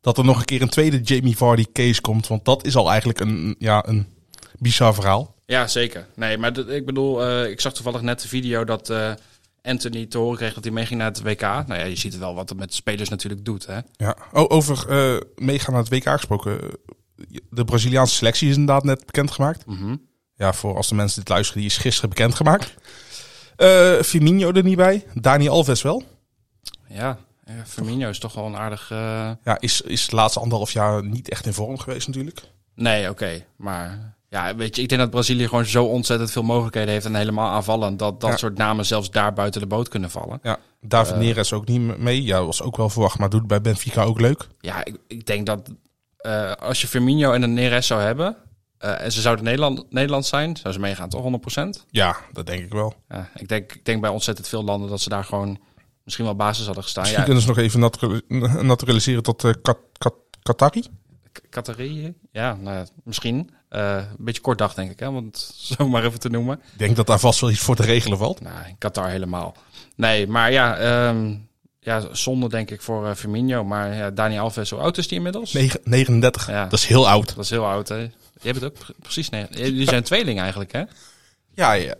S6: dat er nog een keer een tweede Jamie Vardy case komt. Want dat is al eigenlijk een, ja, een bizar verhaal.
S7: Ja, zeker. Nee, maar dat- ik bedoel, eh, ik zag toevallig net de video dat eh, Anthony te horen kreeg dat hij meeging naar het WK. Nou ja, je ziet wel wat het met spelers natuurlijk doet, hè?
S6: Ja. Oh, over eh, meegaan naar het WK gesproken. eh, De Braziliaanse selectie is inderdaad net bekendgemaakt.
S7: Mhm.
S6: Ja, voor als de mensen dit luisteren, die is gisteren bekendgemaakt. Eh Firmino er niet bij. Dani Alves wel.
S7: Ja, eh, Firmino is toch wel een aardig... eh,
S6: Ja, is, is de laatste anderhalf jaar niet echt in vorm geweest natuurlijk.
S7: Nee, oké. Maar ja, weet je, ik denk dat Brazilië gewoon zo ontzettend veel mogelijkheden heeft en helemaal aanvallend dat dat
S6: Ja.
S7: soort namen zelfs daar buiten de boot kunnen vallen.
S6: Ja, David Neres ook niet mee. Ja, was ook wel verwacht, maar doet bij Benfica ook leuk.
S7: Ja, ik, ik denk dat eh, als je Firmino en een Neres zou hebben eh, en ze zouden Nederland, Nederland zijn, zou ze meegaan toch 100%?
S6: Ah, Ja, dat denk ik wel.
S7: Ja, ik, denk, ik denk bij ontzettend veel landen dat ze daar gewoon misschien wel basis hadden gestaan.
S6: Misschien
S7: Ja,
S6: kunnen ze nog even natu- naturaliseren tot eh, Kat, Kat, Katari.
S7: K- Catharie? Ja, nou ja, misschien. Eh, een beetje kort dag, denk ik, hè, om het zo maar even te noemen.
S6: Ik denk dat daar vast wel iets voor te regelen valt.
S7: Nou, in Qatar helemaal. Nee, maar ja, ehm, ja zonde denk ik voor eh, Firmino. Maar ja, Dani Alves, hoe oud is die inmiddels?
S6: Negen- 39,
S7: Ja.
S6: dat is heel oud.
S7: Dat is heel oud, hè? Jij bent ook pre- precies... Nee, jullie zijn tweeling eigenlijk, hè?
S6: Ja, ja.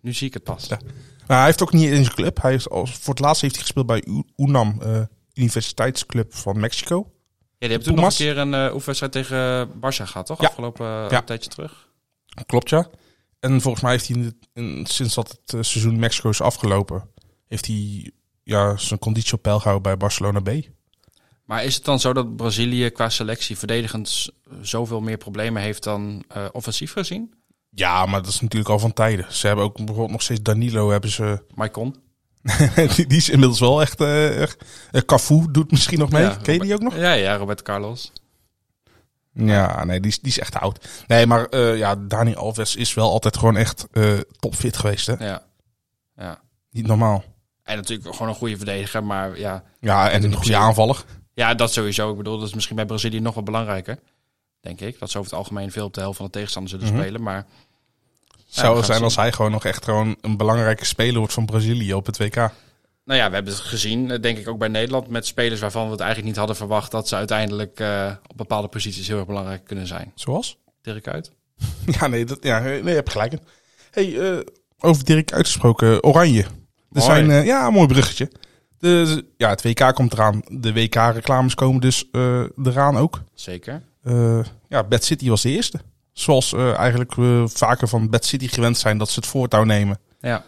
S7: Nu zie ik het pas.
S6: Ja. Maar Nou, hij heeft ook niet in zijn club. Hij heeft als, voor het laatst heeft hij gespeeld bij U- UNAM, eh, Universiteitsclub van Mexico.
S7: Ja, die hebben toen nog een
S6: Pumas?
S7: keer een eh oefenwedstrijd tegen Barça gehad, toch?
S6: Ja.
S7: Afgelopen eh,
S6: Ja.
S7: een tijdje terug.
S6: Klopt, ja. En volgens mij heeft hij in het- in- sinds dat het eh, seizoen Mexico is afgelopen, heeft hij ja, zijn conditie op peil gehouden bij Barcelona B.
S7: Maar is het dan zo dat Brazilië qua selectie verdedigend z- zoveel meer problemen heeft dan eh, offensief gezien?
S6: Ja, maar dat is natuurlijk al van tijden. Ze hebben ook bijvoorbeeld nog steeds Danilo hebben ze.
S7: Maicon?
S6: die, die is inmiddels wel echt. eh echt- eh, Cafu doet misschien nog mee.
S7: Ja,
S6: Ken je die ook nog?
S7: Ja, ja, Robert Carlos.
S6: Ja, nee, die is, die is echt oud. Nee, maar eh, ja, Dani Alves is wel altijd gewoon echt eh, topfit geweest. Hè?
S7: Ja. ja.
S6: Niet normaal.
S7: En natuurlijk gewoon een goede verdediger, maar ja,
S6: Ja, en een goede aanvaller.
S7: ja, dat sowieso. Ik bedoel, dat is misschien bij Brazilië nog wel belangrijker, denk ik. Dat ze over het algemeen veel op de helft van de tegenstander zullen spelen, maar... Ja, we
S6: Zou
S7: gaan
S6: het zijn
S7: zien.
S6: als hij gewoon nog echt gewoon een belangrijke speler wordt van Brazilië op het WK.
S7: Nou ja, we hebben het gezien, eh, denk ik ook bij Nederland, met spelers waarvan we het eigenlijk niet hadden verwacht dat ze uiteindelijk eh, op bepaalde posities heel erg belangrijk kunnen zijn.
S6: Zoals?
S7: Dirk uit.
S6: Ja, nee, dat, ja, nee je hebt gelijk. in. Hey, eh, over Dirk uitgesproken, eh, Oranje. Er
S7: Mooi.
S6: zijn, eh, ja, een mooi bruggetje. De, ja, het WK komt eraan. De WK-reclames komen dus eh, eraan ook.
S7: Zeker.
S6: Eh, ja, Bad City was de eerste. Zoals eh, eigenlijk we vaker van Bad City gewend zijn dat ze het voortouw nemen.
S7: Ja.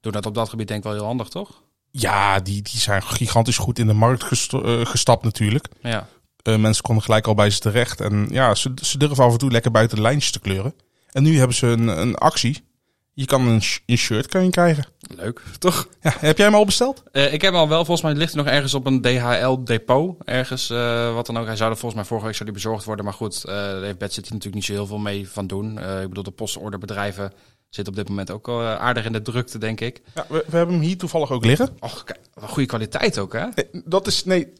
S7: Doe dat op dat gebied denk ik wel heel handig, toch?
S6: Ja, die, die zijn gigantisch goed in de markt gesto- eh, gestapt natuurlijk.
S7: Ja.
S6: Eh, mensen konden gelijk al bij ze terecht. En ja, ze, ze durven af en toe lekker buiten de lijntjes te kleuren. En nu hebben ze een, een actie. Je kan een, sh- een shirt kan je krijgen.
S7: Leuk, toch?
S6: Ja, heb jij hem al besteld?
S7: Eh, ik heb al wel, volgens mij ligt hij nog ergens op een DHL-depot. Ergens, eh, wat dan ook. Hij zou er volgens mij vorige week zou die bezorgd worden. Maar goed, eh, daar heeft Bad City natuurlijk niet zo heel veel mee van doen. Eh, ik bedoel, de postorderbedrijven zitten op dit moment ook al eh, aardig in de drukte, denk ik.
S6: Ja, we, we hebben hem hier toevallig ook liggen.
S7: Och, kijk, wat goede kwaliteit ook, hè?
S6: Nee, Eh, dat is, nee.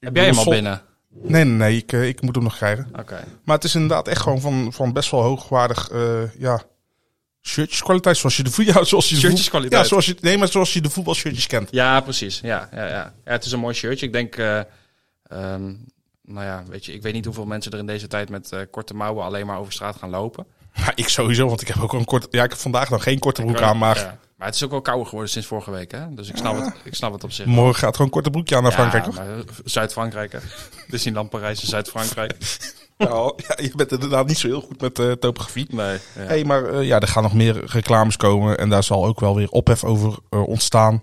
S7: heb jij hem al binnen?
S6: Nee, nee, nee. Ik, eh, ik moet hem nog krijgen.
S7: Oké.
S6: Maar het is inderdaad echt gewoon van, van best wel hoogwaardig, eh, ja... Shirtjeskwaliteit, zoals je de voet- ja, zoals je de voet-
S7: Shirtjeskwaliteit.
S6: Ja, zoals je, nee, maar zoals je de voetbalshirtjes kent.
S7: Ja, precies. Ja, ja, ja. ja, het is een mooi shirtje. Ik denk, eh, ehm, nou ja, weet je, ik weet niet hoeveel mensen er in deze tijd met eh, korte mouwen alleen maar over straat gaan lopen.
S6: Ja, ik sowieso, want ik heb ook een kort... Ja, ik heb vandaag nog geen korte broek aan, maar...
S7: Ja. Maar het is ook wel kouder geworden sinds vorige week, hè? Dus ik snap, het, ik snap het op zich.
S6: Morgen gaat gewoon korte broekje aan naar Frankrijk,
S7: ja,
S6: toch?
S7: maar, eh, Zuid-Frankrijk, hè? Disneyland Parijs en Zuid-Frankrijk.
S6: Nou, ja, je bent inderdaad niet zo heel goed met eh, topografie.
S7: Nee. Ja.
S6: Hey, maar eh, ja, er gaan nog meer reclames komen en daar zal ook wel weer ophef over eh, ontstaan.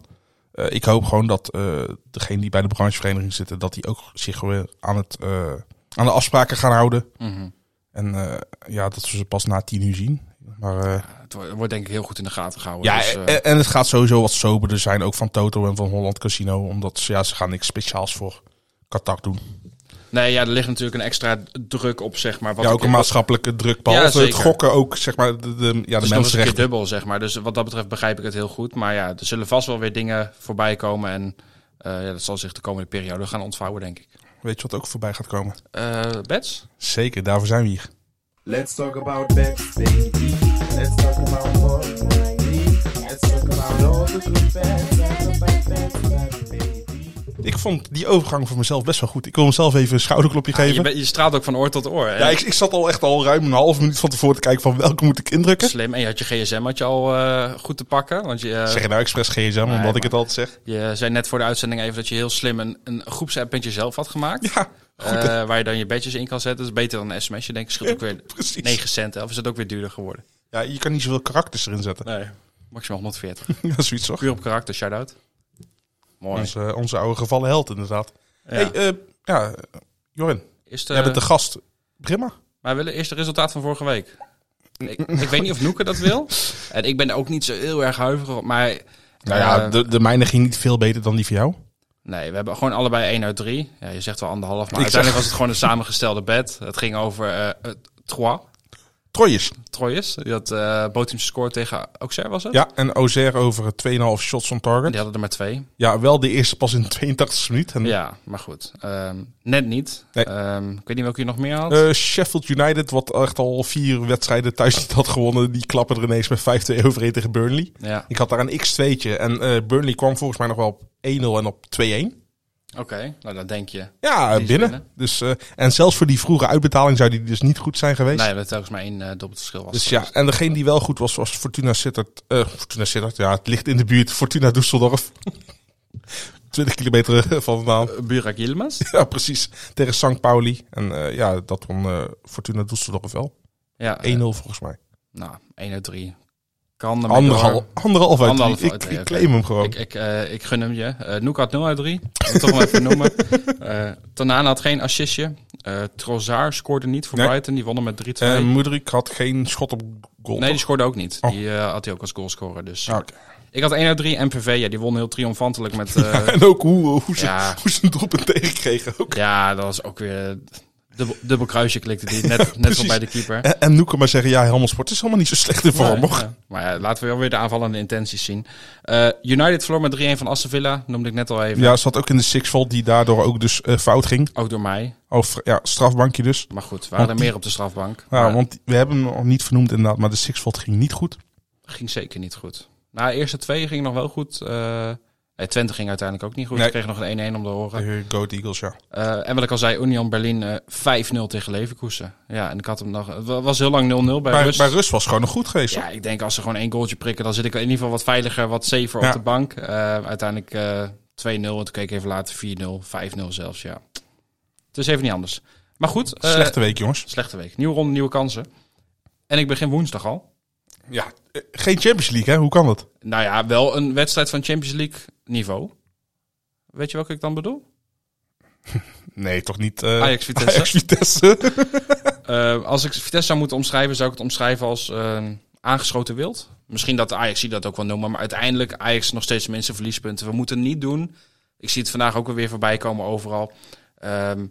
S6: Eh, ik hoop gewoon dat eh degenen die bij de branchevereniging zitten, dat die ook zich weer aan, het, eh, aan de afspraken gaan houden.
S7: Mhm.
S6: En eh, ja, dat we ze pas na tien uur zien. Maar, eh,
S7: Het wo- wordt denk ik heel goed in de gaten gehouden.
S6: ja,
S7: dus, eh,
S6: en, en het gaat sowieso wat soberder zijn, ook van Toto en van Holland Casino. Omdat ze, ja, ze gaan niks speciaals voor Qatar doen.
S7: nee, ja, er ligt natuurlijk een extra druk op, zeg maar. Wat
S6: ja,
S7: ik-
S6: ook een maatschappelijke druk.
S7: Ja,
S6: Behalve
S7: zeker.
S6: het gokken ook, zeg maar, de, de, ja,
S7: Het is
S6: de
S7: nog eens een keer
S6: mensenrechten.
S7: dubbel, zeg maar. Dus wat dat betreft begrijp ik het heel goed. Maar ja, er zullen vast wel weer dingen voorbij komen. En eh, ja, dat zal zich de komende periode gaan ontvouwen, denk ik.
S6: Weet je wat ook voorbij gaat komen?
S7: Eh Bets?
S6: Zeker, daarvoor zijn we hier.
S9: Let's talk about bets, baby. Let's talk about money. Let's talk about all the good bets. Talk about bets, bets, baby.
S6: Ik vond die overgang voor mezelf best wel goed. Ik wil mezelf even een schouderklopje
S7: Je,
S6: geven.
S7: bent- je straalt ook van oor tot oor. Hè?
S6: Ja, ik, ik zat al echt al ruim een half minuut van tevoren te kijken van welke moet ik indrukken.
S7: Slim. En je had je gsm had je al eh, goed te pakken. Want je, eh,
S6: Zeg je nou expres gsm, omdat
S7: maar-
S6: ik het altijd zeg.
S7: je zei net voor de uitzending even dat je heel slim een, een groepsapp met jezelf had gemaakt.
S6: Ja,
S7: Eh, waar je dan je badges in kan zetten. Dat is beter dan een sms'je, denk ik. Scheelt ook weer
S6: precies.
S7: 9 cent. hè? Of is dat ook weer duurder geworden?
S6: Ja, je kan niet zoveel karakters erin zetten.
S7: Nee. Maximaal 140.
S6: Ja, zoiets toch?
S7: Puur op karakter, shout-out. Mooi.
S6: Onze, onze oude gevallen held inderdaad. Hey, eh, ja, Jorin,
S7: Is de-
S6: jij bent de gast. Begin maar.
S7: eh, Maar we willen eerst het resultaat van vorige week. Ik, ik weet niet of Noeke dat wil. En ik ben ook niet zo heel erg huiverig. op, Maar
S6: Nou ja,
S7: eh,
S6: de, de mijne ging niet veel beter dan die van jou.
S7: nee, we hebben gewoon allebei 1 uit 3. Ja, je zegt wel anderhalf, maar
S6: Ik
S7: uiteindelijk was het gewoon een samengestelde bed. Het ging over eh het trois.
S6: Troyes.
S7: eh, Troyes. Die had eh Botum score tegen Auxerre, was het?
S6: Ja, en Ozer over 2,5 shots on target.
S7: Die
S6: Ja.
S7: hadden er maar twee.
S6: wel de eerste pas in de 82e minuut. En,
S7: Ja, maar goed. Ehm, net niet.
S6: Hm. Nee.
S7: Ehm, ik weet niet welke je nog meer had.
S6: eh, Sheffield United, wat echt al vier wedstrijden thuis niet had gewonnen, die klappen er ineens met 5-2 overheen tegen Burnley.
S7: ja,
S6: Ik had daar een x2'tje en eh, Burnley kwam volgens mij nog wel op 1-0 en op 2-1.
S7: oké. Nou, dat denk je.
S6: Ja,
S7: Die is
S6: binnen.
S7: binnen.
S6: Dus, eh, en zelfs voor die vroege uitbetaling zou die dus niet goed zijn geweest.
S7: Nee, dat telkens maar één eh doelpuntverschil was.
S6: Dus ja, en degene die wel goed was, was Fortuna Sittard. eh, Fortuna Sittard, ja, het ligt in de buurt. Fortuna Düsseldorf. 20 kilometer eh, van vandaan.
S7: Eh, Burak Yilmaz?
S6: Ja, precies. Tegen St. Pauli. En eh, ja, dat won eh, Fortuna Düsseldorf wel. 1-0
S7: Ja, eh,
S6: volgens mij.
S7: nou, 1 uit 3. Kan ermee
S6: Anderhal,
S7: door.
S6: anderhalf uit
S7: Anderhalf
S6: drie.
S7: uit
S6: Ik,
S7: drie,
S6: ik
S7: oké.
S6: claim hem gewoon.
S7: Ik, ik, eh, ik gun hem je. Eh Noek had 0 uit 3. Toch maar even noemen. Eh Tanana had geen assistje. Eh Trozaar scoorde niet voor
S6: Nee.
S7: Brighton. Die wonnen met 3-2.
S6: Eh Moederik had geen schot op goal.
S7: nee, die
S6: toch?
S7: scoorde ook niet.
S6: Oh.
S7: Die eh, had hij ook als goalscorer. Dus
S6: Ah, oké.
S7: ik had 1 uit 3. MPV, ja, die won heel triomfantelijk met... eh,
S6: En ook hoe, hoe, ze,
S7: Ja.
S6: hoe ze een doelpunt tegenkregen. Ook.
S7: ja, dat was ook weer... eh, Dubbel, dubbel kruisje klikte die. Net, net
S6: precies.
S7: van bij de keeper.
S6: En, en Noeke maar zeggen, ja, Helmond Sport is helemaal niet zo slecht in vorm.
S7: Nee,
S6: hoor.
S7: ja. Maar ja, laten we wel weer de aanvallende intenties zien. Eh, United verloor met 3-1 van Aston Villa, noemde ik net al even.
S6: Ja, zat ook in de sixfold die daardoor ook dus eh, fout ging.
S7: Ook door mij.
S6: Of Oh, ja, strafbankje dus.
S7: Maar goed, waren er
S6: Want die-
S7: meer op de strafbank.
S6: Ja,
S7: Maar
S6: want we hebben hem nog niet vernoemd inderdaad, maar de sixfold ging niet goed.
S7: Ging zeker niet goed. Na de eerste twee ging nog wel goed. Eh, nee, Twente ging uiteindelijk ook niet goed.
S6: Nee.
S7: Ze kregen nog een 1-1 om de oren.
S6: Goat Eagles, ja.
S7: Eh, en wat ik al zei, Union Berlin eh 5-0 tegen Leverkusen. Ja, en ik had hem nog... Het wa- was heel lang 0-0 bij
S6: Bij,
S7: rust.
S6: bij Rus was gewoon nog goed geweest. hoor.
S7: Ja, ik denk als ze gewoon één goaltje prikken, dan zit ik in ieder geval wat veiliger, wat safer
S6: Ja.
S7: op de bank. Eh, uiteindelijk eh 2-0, en toen keek ik even later 4-0, 5-0 zelfs, ja. Het is even niet anders. Maar goed, eh,
S6: Slechte week, jongens.
S7: slechte week. Nieuwe ronde, nieuwe kansen. En ik begin woensdag al.
S6: Ja, eh, geen Champions League, hè? Hoe kan dat?
S7: Nou ja, wel een wedstrijd van Champions League niveau. Weet je welke ik dan bedoel?
S6: Nee, toch niet eh,
S7: Ajax Vitesse.
S6: Vitesse.
S7: Eh, als ik Vitesse zou moeten omschrijven, zou ik het omschrijven als eh, aangeschoten wild. Misschien dat de Ajax die dat ook wel noemen, maar uiteindelijk Ajax nog steeds de minste verliespunten. We moeten niet doen. Ik zie het vandaag ook weer voorbij komen overal. Ehm,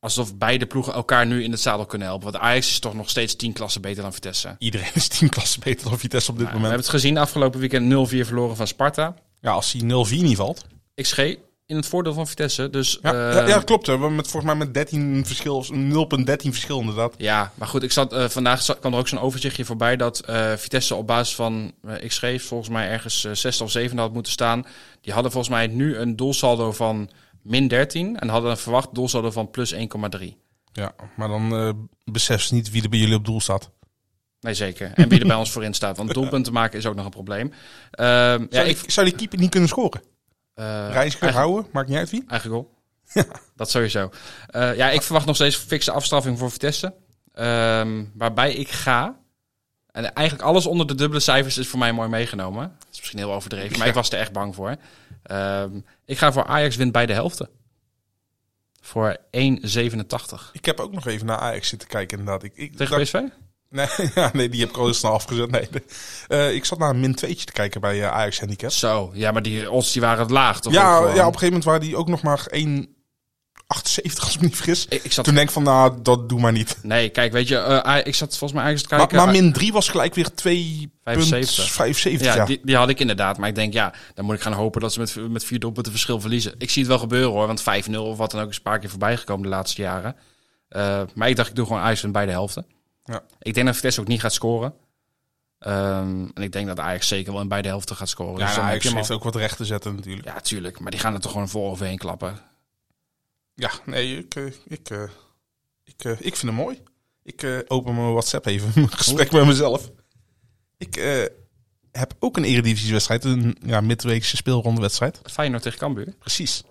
S7: alsof beide ploegen elkaar nu in het zadel kunnen helpen. Want Ajax is toch nog steeds tien klassen beter dan Vitesse.
S6: Iedereen is tien klassen beter dan Vitesse op dit
S7: Nou, we
S6: moment.
S7: hebben het gezien afgelopen weekend 0-4 verloren van Sparta.
S6: Ja, als hij 0-4 niet valt.
S7: XG in het voordeel van Vitesse. Dus
S6: Ja,
S7: eh,
S6: ja, ja, dat klopt. Hè. We hebben met, volgens mij met 13 verschil, 0,13 verschil inderdaad.
S7: Ja, maar goed, ik zat, eh, vandaag zat- kwam er ook zo'n overzichtje voorbij dat eh, Vitesse op basis van, eh, ik schreef volgens mij ergens eh, zesde of zevende had moeten staan. Die hadden volgens mij nu een doelsaldo van min 13 en hadden een verwacht doelsaldo van plus 1,3.
S6: Ja, maar dan eh besef ze niet wie er bij jullie op doel staat.
S7: Nee, zeker. En wie er bij ons voorin staat, want doelpunten maken is ook nog een probleem. Ehm ja,
S6: Zou,
S7: ik...
S6: die, zou die keeper niet kunnen scoren?
S7: eh,
S6: Reiziger
S7: eigen-
S6: houden, maakt niet uit wie.
S7: Eigen goal. Dat sowieso. Eh, ja, ik verwacht nog steeds fikse afstraffing voor Vitesse. Ehm, waarbij ik ga. En eigenlijk alles onder de dubbele cijfers is voor mij mooi meegenomen. Dat is misschien heel overdreven, maar ik was er echt bang voor. Ehm, ik ga voor Ajax wint bij de helften. Voor 1,87.
S6: Ik heb ook nog even naar Ajax zitten kijken inderdaad. Ik, ik,
S7: Tegen
S6: dacht-
S7: PSV?
S6: nee, ja, nee, die heb ik al heel snel afgezet. Nee, de- eh, ik zat naar een min 2'tje te kijken bij eh, Ajax Handicap.
S7: Zo, ja, maar die odds die waren laag. Toch
S6: Ja,
S7: ook eh,
S6: ja, op
S7: gewoon?
S6: een gegeven moment waren die ook nog maar 1,78 als ik me niet vergis.
S7: Ik, ik zat,
S6: Toen denk ik van, nou, dat doe maar niet.
S7: nee, kijk, weet je, eh, Aj- ik zat volgens mij Ajax te
S6: Maar,
S7: kijken.
S6: maar min 3 was gelijk weer 2,75.
S7: 75. Ja,
S6: Ja,
S7: Die, die had ik inderdaad. Maar ik denk, ja, dan moet ik gaan hopen dat ze met, met vier doelpunten verschil verliezen. Ik zie het wel gebeuren hoor, want 5-0 of wat dan ook is een paar keer voorbij gekomen de laatste jaren. Eh, maar ik dacht, ik doe gewoon Ajax wint bij de helften.
S6: Ja.
S7: Ik denk dat Vitesse ook niet gaat scoren. Ehm, en ik denk dat Ajax zeker wel in beide helften gaat scoren.
S6: Ja,
S7: dus
S6: en
S7: dan heb
S6: Ajax
S7: je hem
S6: heeft
S7: al.
S6: ook wat recht te zetten natuurlijk.
S7: ja, tuurlijk. Maar die gaan er toch gewoon vol overheen klappen.
S6: Ja, nee, ik, eh, ik, eh, ik, eh, ik vind hem mooi. Ik eh, open mijn WhatsApp even, mijn gesprek met mezelf. Ik eh, heb ook een eredivisiewedstrijd, een ja, midweekse speelrondewedstrijd.
S7: Feyenoord tegen Cambuur.
S6: Precies.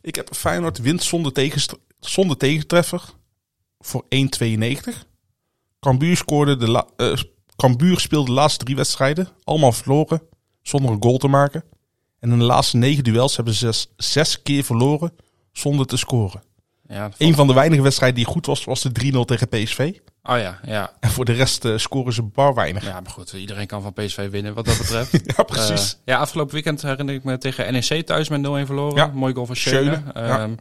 S6: Ik heb Feyenoord wint zonder, tegenst- zonder tegentreffer voor 1,92. Cambuur scoorde de la- eh, Cambuur speelde de laatste drie wedstrijden, allemaal verloren, zonder een goal te maken. En in de laatste negen duels hebben ze zes, zes keer verloren zonder te scoren.
S7: Ja,
S6: Een van de weinige wedstrijden die goed was, was de 3-0 tegen PSV.
S7: Oh ja, ja.
S6: En voor de rest eh, scoren ze bar weinig.
S7: Ja, maar goed. Iedereen kan van PSV winnen wat dat betreft.
S6: Ja, precies.
S7: Eh, ja, afgelopen weekend herinner ik me tegen NEC thuis E met 0-1 verloren.
S6: Ja.
S7: Mooi goal van
S6: Schöne,
S7: Schöne.
S6: ja.
S7: Ehm,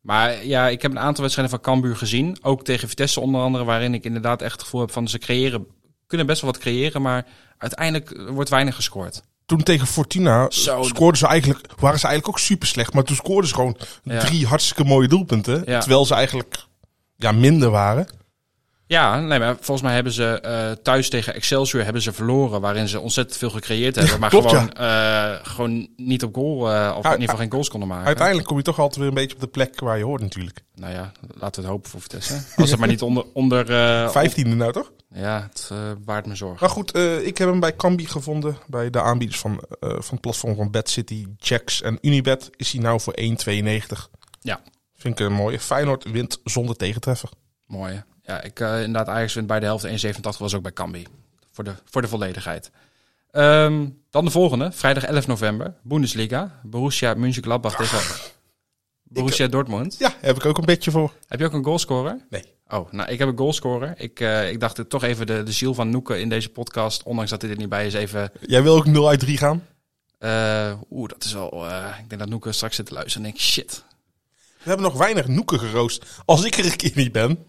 S7: Maar ja, ik heb een aantal wedstrijden van Cambuur gezien. Ook tegen Vitesse onder andere, waarin ik inderdaad echt het gevoel heb van ze creëren, kunnen best wel wat creëren, maar uiteindelijk eh, wordt weinig gescoord.
S6: Toen tegen Fortuna
S7: Zo.
S6: scoorden ze eigenlijk, waren ze eigenlijk ook super slecht. Maar toen scoorden ze gewoon
S7: Ja.
S6: drie hartstikke mooie doelpunten.
S7: Ja.
S6: Terwijl ze eigenlijk ja, minder waren.
S7: Ja, nee, maar volgens mij hebben ze eh, thuis tegen Excelsior hebben ze verloren, waarin ze ontzettend veel gecreëerd hebben, maar
S6: klopt,
S7: gewoon, eh, gewoon niet op goal, eh, of in ieder geval geen goals konden maken.
S6: Uiteindelijk kom je toch altijd weer een beetje op de plek waar je hoort natuurlijk.
S7: Nou ja, laten we het hopen voor Vitesse. Als het maar niet onder... onder eh,
S6: Vijftiende nou toch?
S7: on- ja, het eh, baart me zorgen.
S6: Maar goed, eh, ik heb hem bij Kambi gevonden. Bij de aanbieders van, eh, van het platform van Bad City, Jacks en Unibet is hij nou voor 1,92.
S7: Ja.
S6: Vind ik een mooie. Feyenoord wint zonder tegentreffen.
S7: Mooi. hè? Ja, ik, eh, inderdaad, Ajax wint bij de helft. 1,87 was ook bij Cambi. Voor de, voor de volledigheid. Ehm, dan de volgende. Vrijdag 11 november. Bundesliga. Borussia Mönchengladbach tegen Borussia Dortmund.
S6: Ja, heb ik ook een beetje voor.
S7: Heb je ook een goalscorer?
S6: Nee.
S7: Oh, nou, ik heb een goalscorer. Ik, eh, ik dacht het toch even de, de ziel van Noeken in deze podcast, ondanks dat hij er niet bij is, even...
S6: Jij wil ook 0 uit 3 gaan?
S7: eh, Oeh, dat is wel... eh, ik denk dat Noeken straks zit te luisteren en denkt, shit,
S6: We hebben nog weinig noeken geroost. Als ik er een keer niet ben,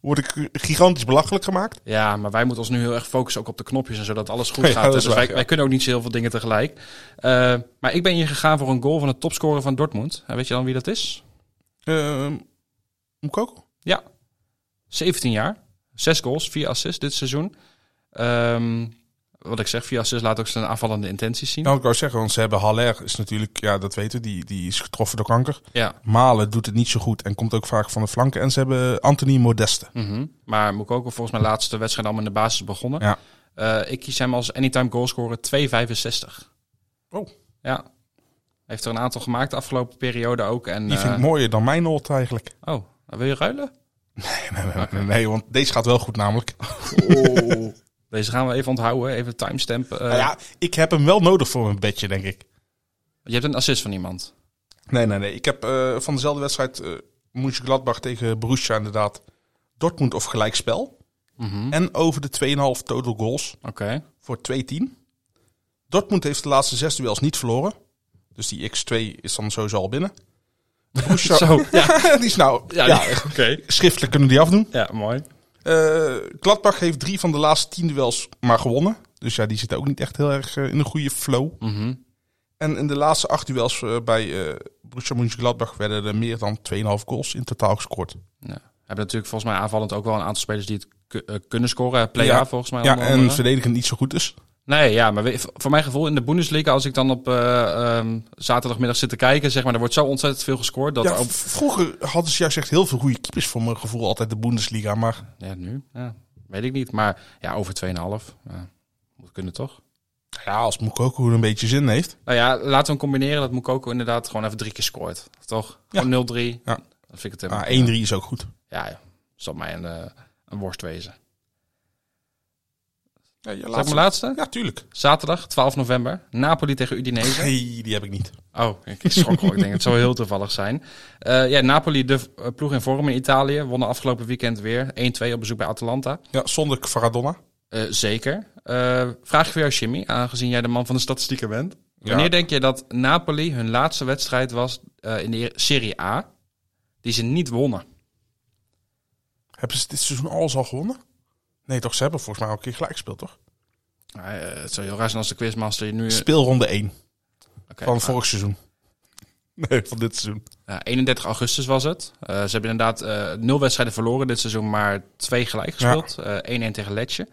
S6: word ik gigantisch belachelijk gemaakt.
S7: Ja, maar wij moeten ons nu heel erg focussen ook op de knopjes en zodat alles goed
S6: Ja,
S7: gaat.
S6: dat is
S7: dus
S6: waar,
S7: wij,
S6: ja.
S7: wij kunnen ook niet zo heel veel dingen tegelijk. Eh, maar ik ben hier gegaan voor een goal van de topscorer van Dortmund. En weet je dan wie dat is?
S6: Ehm, moet ik ook?
S7: Ja, 17 jaar. Zes goals, vier assists dit seizoen. Ehm, wat ik zeg, vier assists laat ook zijn aanvallende intenties zien.
S6: Nou, ik wou zeggen, want ze hebben Haller is natuurlijk, ja, dat weten we, die, die is getroffen door kanker.
S7: Ja.
S6: Malen doet het niet zo goed en komt ook vaak van de flanken. En ze hebben Anthony Modeste.
S7: mhm. Maar Moukoko volgens mijn laatste wedstrijd allemaal in de basis begonnen.
S6: Ja.
S7: Eh, ik kies hem als anytime goalscorer 2,65.
S6: Oh.
S7: Ja. Heeft er een aantal gemaakt de afgelopen periode ook. En,
S6: Die vind ik
S7: eh,
S6: mooier dan mijn old eigenlijk.
S7: Oh, wil je ruilen?
S6: Nee, nee, nee, nee, want deze gaat wel goed namelijk.
S7: Deze gaan we even onthouden, even timestamp. eh.
S6: Nou ja, ik heb hem wel nodig voor mijn bedje, denk ik.
S7: Je hebt een assist van iemand.
S6: Nee, nee, nee. Ik heb eh, van dezelfde wedstrijd eh Mönchengladbach tegen Borussia inderdaad. Dortmund of gelijkspel. En over de 2,5 total goals
S7: Mhm, Oké.
S6: voor 2-10. Dortmund heeft de laatste zes duels niet verloren. Dus die X2 is dan sowieso al binnen. Borussia,
S7: Zo,
S6: ja. die is nou... Ja,
S7: oké.
S6: Schriftelijk kunnen we die afdoen.
S7: Ja, mooi.
S6: Eh, Gladbach heeft drie van de laatste tien duels maar gewonnen. Dus ja, die zitten ook niet echt heel erg eh, in een goede flow.
S7: Mhm.
S6: En in de laatste acht duels eh, bij eh Borussia Mönchengladbach werden er meer dan 2,5 goals in totaal gescoord.
S7: We hebben natuurlijk volgens mij aanvallend ook wel een aantal spelers die het ku- eh, kunnen scoren. Playa
S6: Ja.
S7: volgens mij. eh.
S6: Ja,
S7: onder
S6: en
S7: andere.
S6: verdedigend niet zo goed dus.
S7: Nee, ja, maar we- voor mijn gevoel in de Bundesliga, als ik dan op eh, ehm, zaterdagmiddag zit te kijken, zeg maar, er wordt zo ontzettend veel gescoord. Dat
S6: Ja,
S7: ook-
S6: v- vroeger hadden ze juist echt heel veel goede keepers voor mijn gevoel altijd de Bundesliga. Maar
S7: ja, nu? Ja, weet ik niet. Maar ja, over 2,5. Ja, moet kunnen toch?
S6: ja, als Mukoko er een beetje zin heeft.
S7: Nou ja, laten we hem combineren dat Moukoko inderdaad gewoon even drie keer scoort. Toch?
S6: Ja.
S7: Gewoon 0-3.
S6: Ja.
S7: Dat vind ik het
S6: Ah,
S7: helemaal.
S6: 1-3 is ook goed.
S7: Ja, ja. zal mij een, eh, een worst wezen.
S6: Ja, je
S7: Zeg ik mijn laatste?
S6: Ja, tuurlijk.
S7: Zaterdag, 12 november. Napoli tegen Udinese.
S6: Nee, die heb ik niet.
S7: Oh, ik schrok al. Ik denk, het zou heel toevallig zijn. Eh, ja, Napoli, de v- eh, ploeg in vorm in Italië. Wonnen afgelopen weekend weer 1-2 op bezoek bij Atalanta.
S6: Ja, zonder Faradonna.
S7: Eh, zeker. Eh vraag ik voor jou, Jimmy, aangezien jij de man van de statistieken bent.
S6: Ja.
S7: Wanneer denk je dat Napoli hun laatste wedstrijd was eh, in de Serie A, die ze niet wonnen?
S6: Hebben ze dit seizoen alles al gewonnen? Nee, toch? Ze hebben volgens mij al een keer gelijk gespeeld, toch?
S7: Nou, eh, het zou heel raar zijn als de quizmaster nu...
S6: Speelronde 1
S7: Oké,
S6: van
S7: nou,
S6: vorig seizoen. Nee, van dit seizoen.
S7: Ja, 31 augustus was het. Eh, ze hebben inderdaad eh, nul wedstrijden verloren dit seizoen, maar twee gelijk gespeeld. Eh, 1-1 tegen Letje.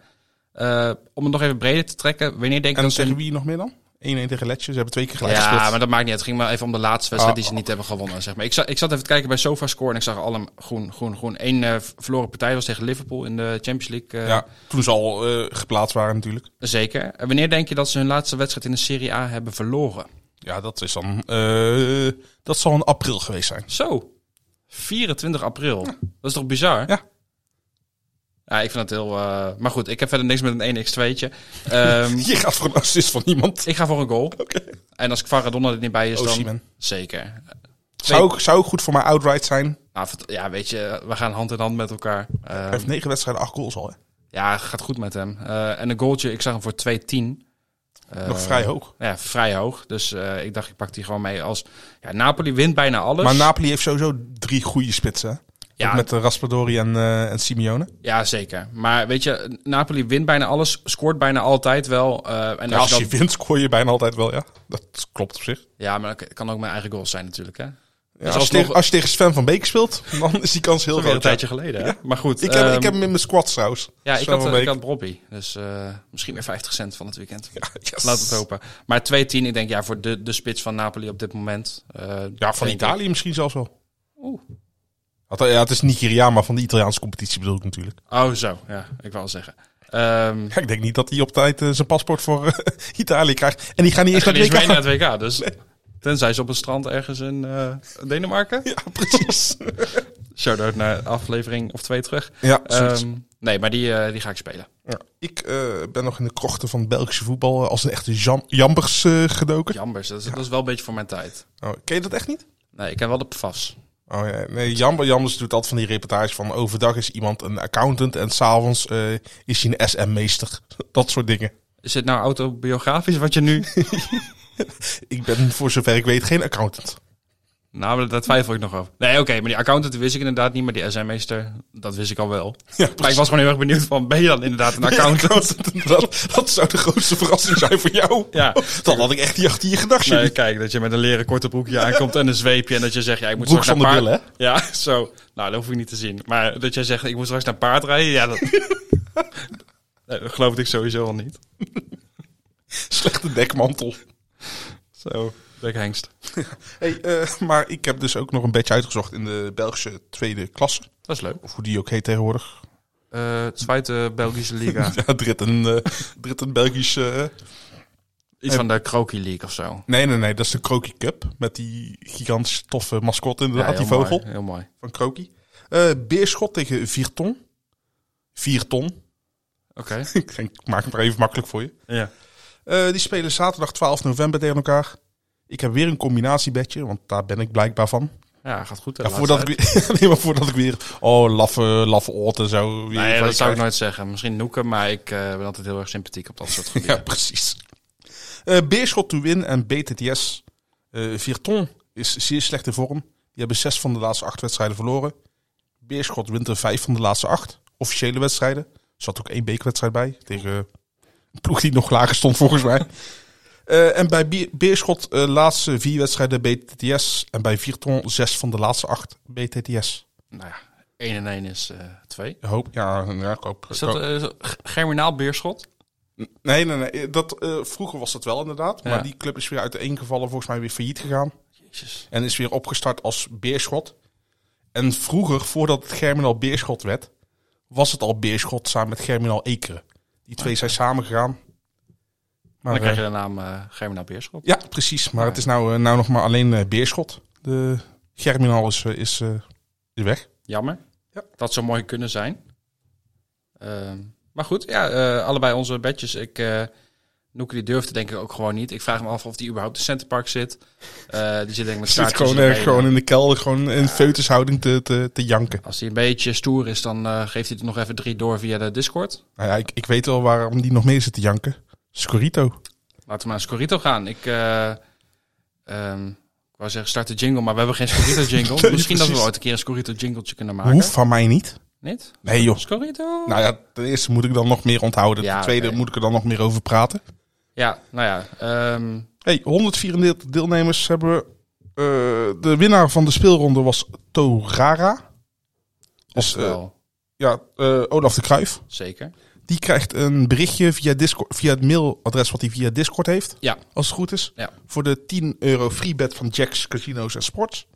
S7: Eh, om het nog even breder te trekken, wanneer denk je
S6: En dan
S7: dat ze-
S6: zeggen wie nog meer dan? 1-1 tegen Letje. Ze hebben twee keer gelijk
S7: Ja,
S6: gespeeld.
S7: maar dat maakt niet uit. Het ging maar even om de laatste wedstrijd
S6: Ah,
S7: die ze niet hebben gewonnen. Zeg maar. ik, zat, ik zat even te kijken bij SofaScore en ik zag allemaal groen, groen, groen. Eén eh, verloren partij was tegen Liverpool in de Champions League. eh,
S6: Ja, toen ze al eh, geplaatst waren natuurlijk.
S7: Zeker. En wanneer denk je dat ze hun laatste wedstrijd in de Serie A hebben verloren?
S6: Ja, dat is dan... eh, dat zal in april geweest zijn.
S7: Zo, 24 april. Dat is toch bizar?
S6: Ja.
S7: Ja, ik vind dat heel... eh, maar goed, ik heb verder niks met een 1x2'tje. Ehm,
S6: Je gaat voor een assist van iemand.
S7: ik ga voor een goal.
S6: Oké.
S7: En als Kvaradonna er niet bij is, dan...
S6: Osimhen.
S7: Zeker.
S6: Oh, Zou, ook, zou ook goed voor mij outright zijn. Hij
S7: Nou, vert- ja, weet je, we gaan hand in hand met elkaar. Ehm,
S6: heeft negen wedstrijden, acht goals al. Hè.
S7: ja, gaat goed met hem. Eh, en een goaltje, ik zag hem voor 2-10. Eh,
S6: Nog vrij hoog.
S7: Ja, vrij hoog. Dus eh, ik dacht, ik pak die gewoon mee als... Ja, Napoli wint bijna alles.
S6: Maar Napoli heeft sowieso drie goede spitsen. Ja.
S7: Ja.
S6: Met eh, Raspadori en, eh, en Simeone.
S7: Ja, zeker. Maar weet je, Napoli wint bijna alles, scoort bijna altijd wel. eh, en
S6: Ja,
S7: als
S6: als
S7: je
S6: je
S7: dat-
S6: wint, scoor je bijna altijd wel, ja. Dat klopt op zich.
S7: ja, maar dat kan ook mijn eigen goals zijn natuurlijk. Hè?
S6: Ja,
S7: Dus
S6: als, je
S7: alsnog-
S6: tegen, als je tegen Sven van Beek speelt, dan is die kans heel
S7: Dat is alweer een
S6: groot. ja.
S7: tijdje geleden. hè? Maar goed.
S6: Ik, heb,
S7: ehm,
S6: ik heb hem in mijn squad trouwens.
S7: ja, ik
S6: Sven
S7: had,
S6: van
S7: eh, ik
S6: Beek.
S7: had Bobby. Dus eh, misschien weer 50 cent van het weekend.
S6: Ja, yes.
S7: Laat het hopen. Maar 2-10, ik denk ja, voor de, de spits van Napoli op dit moment. eh,
S6: Ja, van
S7: denk ik.
S6: Italië misschien zelfs wel.
S7: Oeh.
S6: Had- Ja, het is Nigeria, maar van de Italiaanse competitie bedoel ik natuurlijk.
S7: Oh, zo. Ja, ik wil zeggen. Ehm
S6: Ja, ik denk niet dat hij op tijd eh, zijn paspoort voor eh, Italië krijgt. En die gaan niet
S7: ik
S6: eens
S7: ga
S6: naar
S7: niet
S6: het
S7: eens mee
S6: WK.
S7: naar het WK. Dus, Tenzij ze op een strand ergens in eh, Denemarken.
S6: Ja, precies.
S7: Shout-out naar aflevering of twee terug.
S6: ja, zoiets.
S7: Ehm, nee, maar die, eh, die ga ik spelen.
S6: Ja. Ik eh, ben nog in de krochten van het Belgische voetbal eh, als een echte jam jambers eh, gedoken.
S7: Jambers, dat is, dat is wel een beetje voor mijn tijd.
S6: Oh, ken je dat echt niet?
S7: Nee, ik ken wel de PFAS.
S6: Oh, ja. Nee, jamber, Jambers doet altijd van die reportages van overdag is iemand een accountant en s'avonds eh is hij een SM-meester. Dat soort dingen.
S7: Is dit nou autobiografisch wat je nu...
S6: Ik ben voor zover ik weet geen accountant.
S7: nou, maar daar twijfel ik nog over. Nee, oké, maar die accountant wist ik inderdaad niet, maar die SM-meester, dat wist ik al wel. maar ik was gewoon heel erg benieuwd van, ben je dan inderdaad een accountant?
S6: dat, dat zou de grootste verrassing zijn voor jou.
S7: Ja.
S6: Dan had ik echt niet achter je gedacht.
S7: Nee,
S6: Jimmy.
S7: kijk, dat je met een leren korte broekje aankomt en een zweepje en dat je zegt, ja, ik moet
S6: Broek
S7: straks naar
S6: zonder
S7: paard... Ja, zo. Nou, dat hoef ik niet te zien. Maar dat jij zegt, ik moet straks naar paard rijden, ja, dat... Nee, dat geloofde ik sowieso al niet.
S6: Slechte dekmantel.
S7: Zo, ik hengst.
S6: Hey, eh, maar ik heb dus ook nog een beetje uitgezocht in de Belgische tweede klasse.
S7: Dat is leuk.
S6: Of hoe die ook heet tegenwoordig.
S7: Eh, Zweite Belgische Liga.
S6: Ja, dritten, eh, dritten Belgische... eh.
S7: Iets van de Kroki League of zo.
S6: Nee, nee, nee, dat is de Kroki Cup. Met die gigantisch toffe mascotte
S7: Ja,
S6: inderdaad,
S7: heel
S6: die vogel
S7: Mooi, heel mooi.
S6: van Kroki. Eh, Beerschot tegen Vierton. Vierton.
S7: Oké.
S6: ik denk, ik maak het maar even makkelijk voor je.
S7: ja.
S6: Eh, die spelen zaterdag 12 november tegen elkaar. Ik heb weer een combinatiebedje, want daar ben ik blijkbaar van.
S7: ja, gaat goed. hè,
S6: Ja,
S7: de
S6: voordat,
S7: laatste
S6: ik weer, nee, maar voordat ik weer... Oh, laffe, laffe oort en zo. Weer
S7: tijd. Nee,
S6: van
S7: dat
S6: je
S7: zou ik
S6: krijg.
S7: nooit zeggen. Misschien noeken, maar ik eh, ben altijd heel erg sympathiek op dat soort
S6: Ja,
S7: gebieden.
S6: precies. Eh, Beerschot to win en BTTS. Eh Vierton is zeer slechte vorm. Die hebben zes van de laatste acht wedstrijden verloren. Beerschot wint er vijf van de laatste acht officiële wedstrijden. Er zat ook één beekwedstrijd bij tegen een ploeg die nog lager stond volgens mij. Eh, en bij Bier- Beerschot eh, laatste vier wedstrijden BTTS. En bij Vierton zes van de laatste acht BTTS.
S7: Nou ja, 1 en 1 is 2.
S6: Ik hoop, ja, ja ik hoop.
S7: is dat eh, zo- G- Germinaal Beerschot?
S6: Nee, nee, nee. Dat, eh, vroeger was dat wel inderdaad.
S7: Ja.
S6: Maar die club is weer uit de gevallen, volgens mij weer failliet gegaan.
S7: Jezus.
S6: En is weer opgestart als Beerschot. En vroeger, voordat het Germinal Beerschot werd, was het al Beerschot samen met Germinal Ekeren. Die twee zijn samengegaan. Maar,
S7: Dan krijg je
S6: eh,
S7: de naam eh Germinaal Beerschot.
S6: ja, precies. Maar het is nou, eh, nou nog maar alleen eh, Beerschot. De Germinal is, eh, is, eh, is weg.
S7: Jammer.
S6: Ja.
S7: Dat zou mooi kunnen zijn. Ehm, maar goed, ja, eh, allebei onze bedjes. Ik, eh Noeke die durfde denk ik ook gewoon niet. Ik vraag me af of die überhaupt in Centerpark zit. Eh, die zit denk ik met
S6: Zit
S7: staartjes
S6: gewoon,
S7: en
S6: eh,
S7: benen.
S6: gewoon in de kelder, gewoon in feutushouding te, te, te janken.
S7: Als hij een beetje stoer is, dan eh, geeft hij er nog even drie door via de Discord.
S6: Nou ja, ik, ik weet wel waarom die nog meer zit te janken. Scorito.
S7: Laten we naar Scorito gaan. Ik, eh, ehm, ik wou zeggen start de jingle, maar we hebben geen Scorito jingle.
S6: Nee,
S7: Misschien dat we
S6: precies.
S7: ooit een keer een Scorito jingletje kunnen maken.
S6: Hoeft van mij niet.
S7: Niet?
S6: Nee joh.
S7: Scorito?
S6: Nou ja, ten eerste moet ik dan nog meer onthouden.
S7: Ja,
S6: ten tweede
S7: oké.
S6: moet ik er dan nog meer over praten.
S7: Ja, nou ja. ehm,
S6: Hey, 134 deelnemers hebben we. Eh, de winnaar van de speelronde was Torara. Als, eh,
S7: wel,
S6: ja, eh, Olaf de Kruif.
S7: zeker.
S6: Die krijgt een berichtje via, Discord, via het mailadres wat hij via Discord heeft.
S7: Ja.
S6: Als het goed is.
S7: Ja.
S6: Voor de 10 euro freebet van Jacks Casino's en Sports.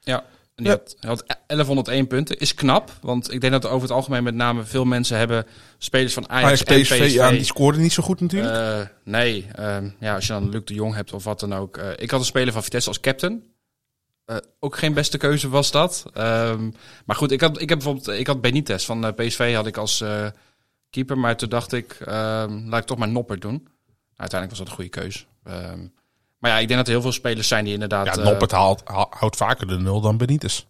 S7: Ja. En die
S6: Ja.
S7: had, hij had e- 1101 punten. Is knap, want ik denk dat over het algemeen met name veel mensen hebben spelers van Ajax,
S6: Ajax
S7: en
S6: PSV,
S7: PSV.
S6: ja, die scoorde niet zo goed natuurlijk.
S7: Eh, nee, ehm, ja, als je dan Luc de Jong hebt of wat dan ook. Eh, ik had een speler van Vitesse als captain. Eh, ook geen beste keuze was dat. Ehm, maar goed, ik had, ik heb bijvoorbeeld, ik had Benitez van eh, PSV had ik als eh, keeper. Maar toen dacht ik, ehm, laat ik toch maar Nopper doen. Nou, uiteindelijk was dat een goede keuze. Ehm, maar ja, ik denk dat er heel veel spelers zijn die inderdaad...
S6: ja,
S7: eh,
S6: Noppert haalt, ha- houdt vaker de nul dan Benitez.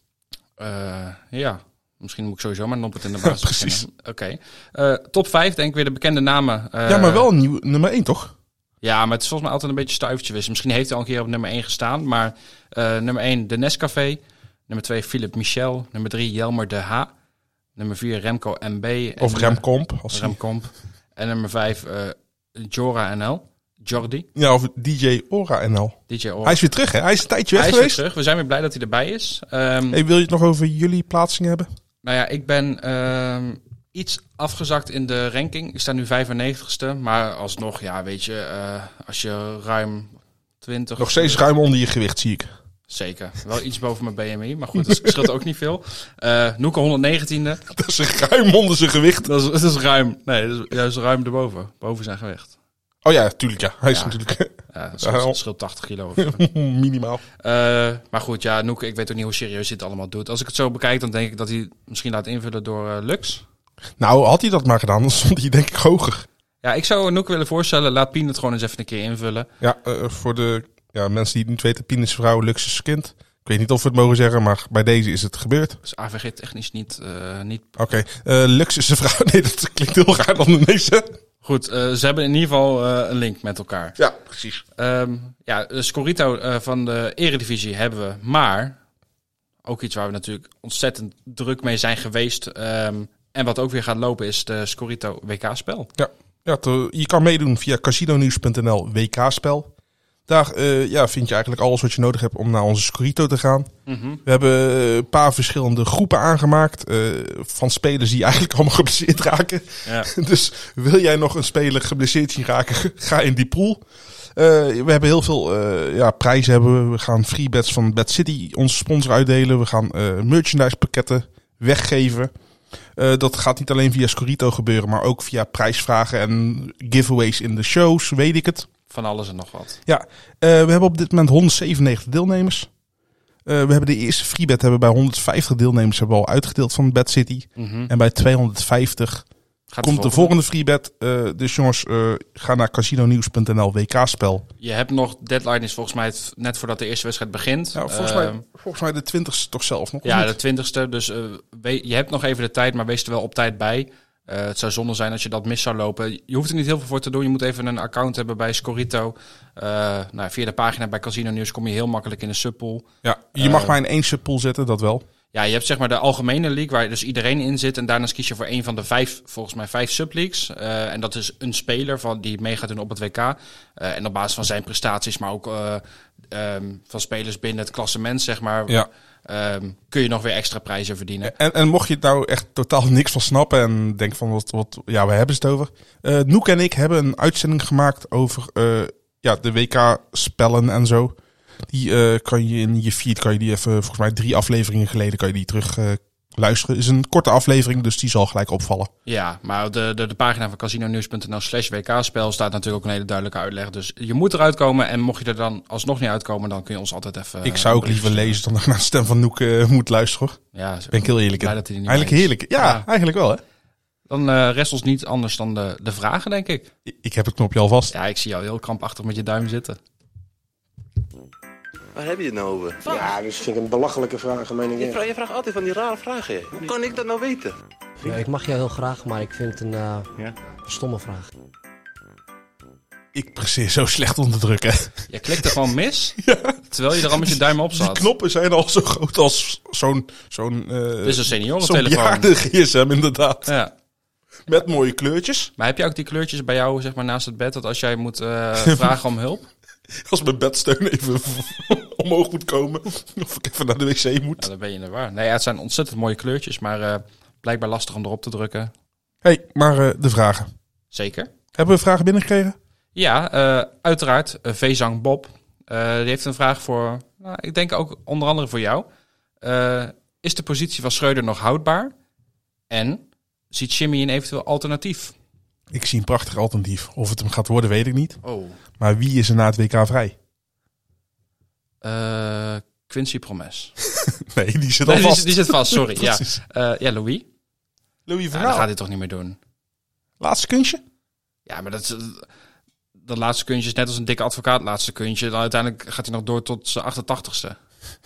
S7: eh, ja, misschien moet ik sowieso maar Noppert in de basis
S6: Precies.
S7: beginnen. Oké. Eh, top 5, denk ik weer de bekende namen. Eh,
S6: ja, maar wel een nieuw, nummer 1 toch?
S7: Ja, maar het is volgens mij altijd een beetje stuivertje wisselen. Misschien heeft hij al een keer op nummer 1 gestaan. Maar eh, nummer 1, de Nescafé. Nummer 2 Philip Michel. Nummer 3 Jelmer De H. Nummer 4 Remco MB. En
S6: Of
S7: nummer-
S6: Remkomp. Als hij-
S7: Remkomp. En nummer eh, 5 Jora NL. Jordi.
S6: ja, of DJ Ora NL.
S7: DJ Ora.
S6: Hij is weer terug, hè? Hij is een tijdje weg
S7: Hij is weer
S6: geweest.
S7: terug. We zijn weer blij dat hij erbij is. Ehm,
S6: Hey, wil je het nog over jullie plaatsing hebben?
S7: Nou ja, ik ben ehm, iets afgezakt in de ranking. Ik sta nu 95ste. Maar alsnog, ja, weet je, eh, als je ruim 20...
S6: Nog steeds ruim onder je gewicht, zie ik.
S7: Zeker. Wel iets boven mijn BMI, maar goed, dat scheelt ook niet veel. Eh Noeke 119e.
S6: Dat is ruim onder zijn gewicht.
S7: Dat is, dat is ruim. Nee, dat is juist ruim erboven. Boven zijn gewicht.
S6: Oh ja, tuurlijk ja. Hij is
S7: Ja.
S6: natuurlijk
S7: Ja, dat scheelt, dat scheelt 80 kilo. of zo.
S6: minimaal.
S7: Eh, maar goed, ja, Noeke, ik weet ook niet hoe serieus dit allemaal doet. Als ik het zo bekijk, dan denk ik dat hij het misschien laat invullen door eh, Lux.
S6: Nou, had hij dat maar gedaan, dan stond hij denk ik hoger.
S7: Ja, ik zou Noeke willen voorstellen, laat Pien het gewoon eens even een keer invullen.
S6: Ja, eh, voor de ja, mensen die het niet weten, Pien is vrouw, Lux is kind. Ik weet niet of we het mogen zeggen, maar bij deze is het gebeurd.
S7: Dus AVG technisch niet, eh, niet
S6: Oké, eh, Lux is een vrouw. Nee, dat klinkt heel raar dan ineens. Hè?
S7: goed. eh, ze hebben in ieder geval eh, een link met elkaar.
S6: Ja, precies.
S7: Ehm, ja, de Scorito eh, van de Eredivisie hebben we. Maar ook iets waar we natuurlijk ontzettend druk mee zijn geweest. ehm, en wat ook weer gaat lopen is de Scorito WK-spel.
S6: Ja, ja te- je kan meedoen via casinonews.nl WK-spel. Daar eh, ja, vind je eigenlijk alles wat je nodig hebt om naar onze Scorito te gaan. We hebben eh, een paar verschillende groepen aangemaakt eh, van spelers die eigenlijk allemaal geblesseerd raken.
S7: Ja.
S6: Dus wil jij nog een speler geblesseerd zien raken, ga in die pool. Eh, we hebben heel veel eh, ja, prijzen. Hebben we. we gaan free bets van Bad City, onze sponsor, uitdelen. We gaan eh, merchandise pakketten weggeven. Eh, dat gaat niet alleen via Scorito gebeuren, maar ook via prijsvragen en giveaways in de shows, weet ik het.
S7: Van alles en nog wat.
S6: Ja, eh, we hebben op dit moment 197 deelnemers. Eh, we hebben de eerste freebet hebben we bij 150 deelnemers hebben we al uitgedeeld van Bad City. En bij 250
S7: Gaat
S6: Mhm. komt de volgende freebet. Eh dus jongens, eh, ga naar casinonews.nl WK-spel.
S7: Je hebt nog, deadline is volgens mij het- net voordat de eerste wedstrijd begint.
S6: Ja, Nou, volgens,
S7: Ehm,
S6: mij, Eh, volgens mij de 20ste toch zelf nog? of
S7: Ja,
S6: niet?
S7: de twintigste. Dus eh, we- je hebt nog even de tijd, maar wees er wel op tijd bij. Eh, het zou zonde zijn als je dat mis zou lopen. Je hoeft er niet heel veel voor te doen. Je moet even een account hebben bij Scorito. Eh, nou, via de pagina bij Casino Nieuws kom je heel makkelijk in de subpool.
S6: ja je mag
S7: eh,
S6: maar in één subpool zetten, dat wel.
S7: Ja, je hebt zeg maar de algemene league waar dus iedereen in zit. En daarnaast kies je voor een van de vijf, volgens mij vijf subleagues. Eh, en dat is een speler van, die mee gaat doen op het WK. Eh, en op basis van zijn prestaties, maar ook eh, ehm, van spelers binnen het klassement, zeg maar.
S6: Ja.
S7: ehm, kun je nog weer extra prijzen verdienen.
S6: En, en mocht je het nou echt totaal niks van snappen en denk van wat, wat ja, we hebben het over. Eh Noek en ik hebben een uitzending gemaakt over eh, ja, de WK-spellen en zo. Die eh, kan je in je feed, kan je die even, volgens mij drie afleveringen geleden, kan je die terug eh, luisteren. Is een korte aflevering, dus die zal gelijk opvallen.
S7: Ja, maar op de, de, de pagina van casinonews.nl slash wk-spel staat natuurlijk ook een hele duidelijke uitleg. Dus je moet eruit komen en mocht je er dan alsnog niet uitkomen, dan kun je ons altijd even...
S6: ik zou ook liever lezen dan dat ik naar de stem van Noek eh, moet luisteren. hoor.
S7: Ja,
S6: Ben ik heel eerlijk. in.
S7: Blij dat hij er niet
S6: Eigenlijk
S7: bij is.
S6: heerlijk. Ja,
S7: Ja.
S6: eigenlijk wel hè.
S7: Dan eh, rest ons niet anders dan de, de vragen, denk ik.
S6: Ik- Ik heb het knopje al vast.
S7: Ja, ik zie jou heel krampachtig met je duim zitten.
S10: Waar heb je het nou over?
S9: Ja, dat vind ik een belachelijke vraag, meen ik.
S10: Je vraagt, je vraagt altijd van die rare vragen. hè. Hoe kan ik dat nou weten?
S11: ik mag jou heel graag, maar ik vind het een eh, stomme vraag.
S6: Ik precies zo slecht onder druk hè.
S7: Je klikt er gewoon mis, terwijl je er al met je duim op zat.
S6: knoppen zijn al zo groot als zo'n zo'n eh
S7: Dit is een
S6: zo'n
S7: seniorentelefoon.
S6: bejaarde gsm inderdaad.
S7: Ja.
S6: Met mooie kleurtjes.
S7: Maar heb je ook die kleurtjes bij jou zeg maar, naast het bed, dat als jij moet eh, vragen om hulp?
S6: Als mijn bedsteun even omhoog moet komen. Of ik even naar de wc moet.
S7: Ja, dan ben je in de war. Nee, ja, het zijn ontzettend mooie kleurtjes, maar eh, blijkbaar lastig om erop te drukken.
S6: hey, maar eh, de vragen.
S7: Zeker.
S6: Hebben we vragen binnengekregen?
S7: Ja, eh, uiteraard. eh, Vezang Bob. Eh, die heeft een vraag voor, nou, ik denk ook onder andere voor jou. Eh, is de positie van Schreuder nog houdbaar? En ziet Jimmy een eventueel alternatief?
S6: Ik zie een prachtig alternatief. Of het hem gaat worden, weet ik niet.
S7: Oh.
S6: Maar wie is er na het WK vrij?
S7: Eh, Quincy Promes.
S6: Nee, die zit al
S7: Nee, die,
S6: vast.
S7: zit- die zit vast, sorry. ja.
S6: Precies. Nou.
S7: Eh, ja, Louis.
S6: Louis van
S7: Ja, dat
S6: Gaal.
S7: gaat hij toch niet meer doen?
S6: Laatste kunstje?
S7: Ja, maar dat, is- dat laatste kuntje is net als een dikke advocaat laatste kuntje. Dan uiteindelijk gaat hij nog door tot zijn 88ste.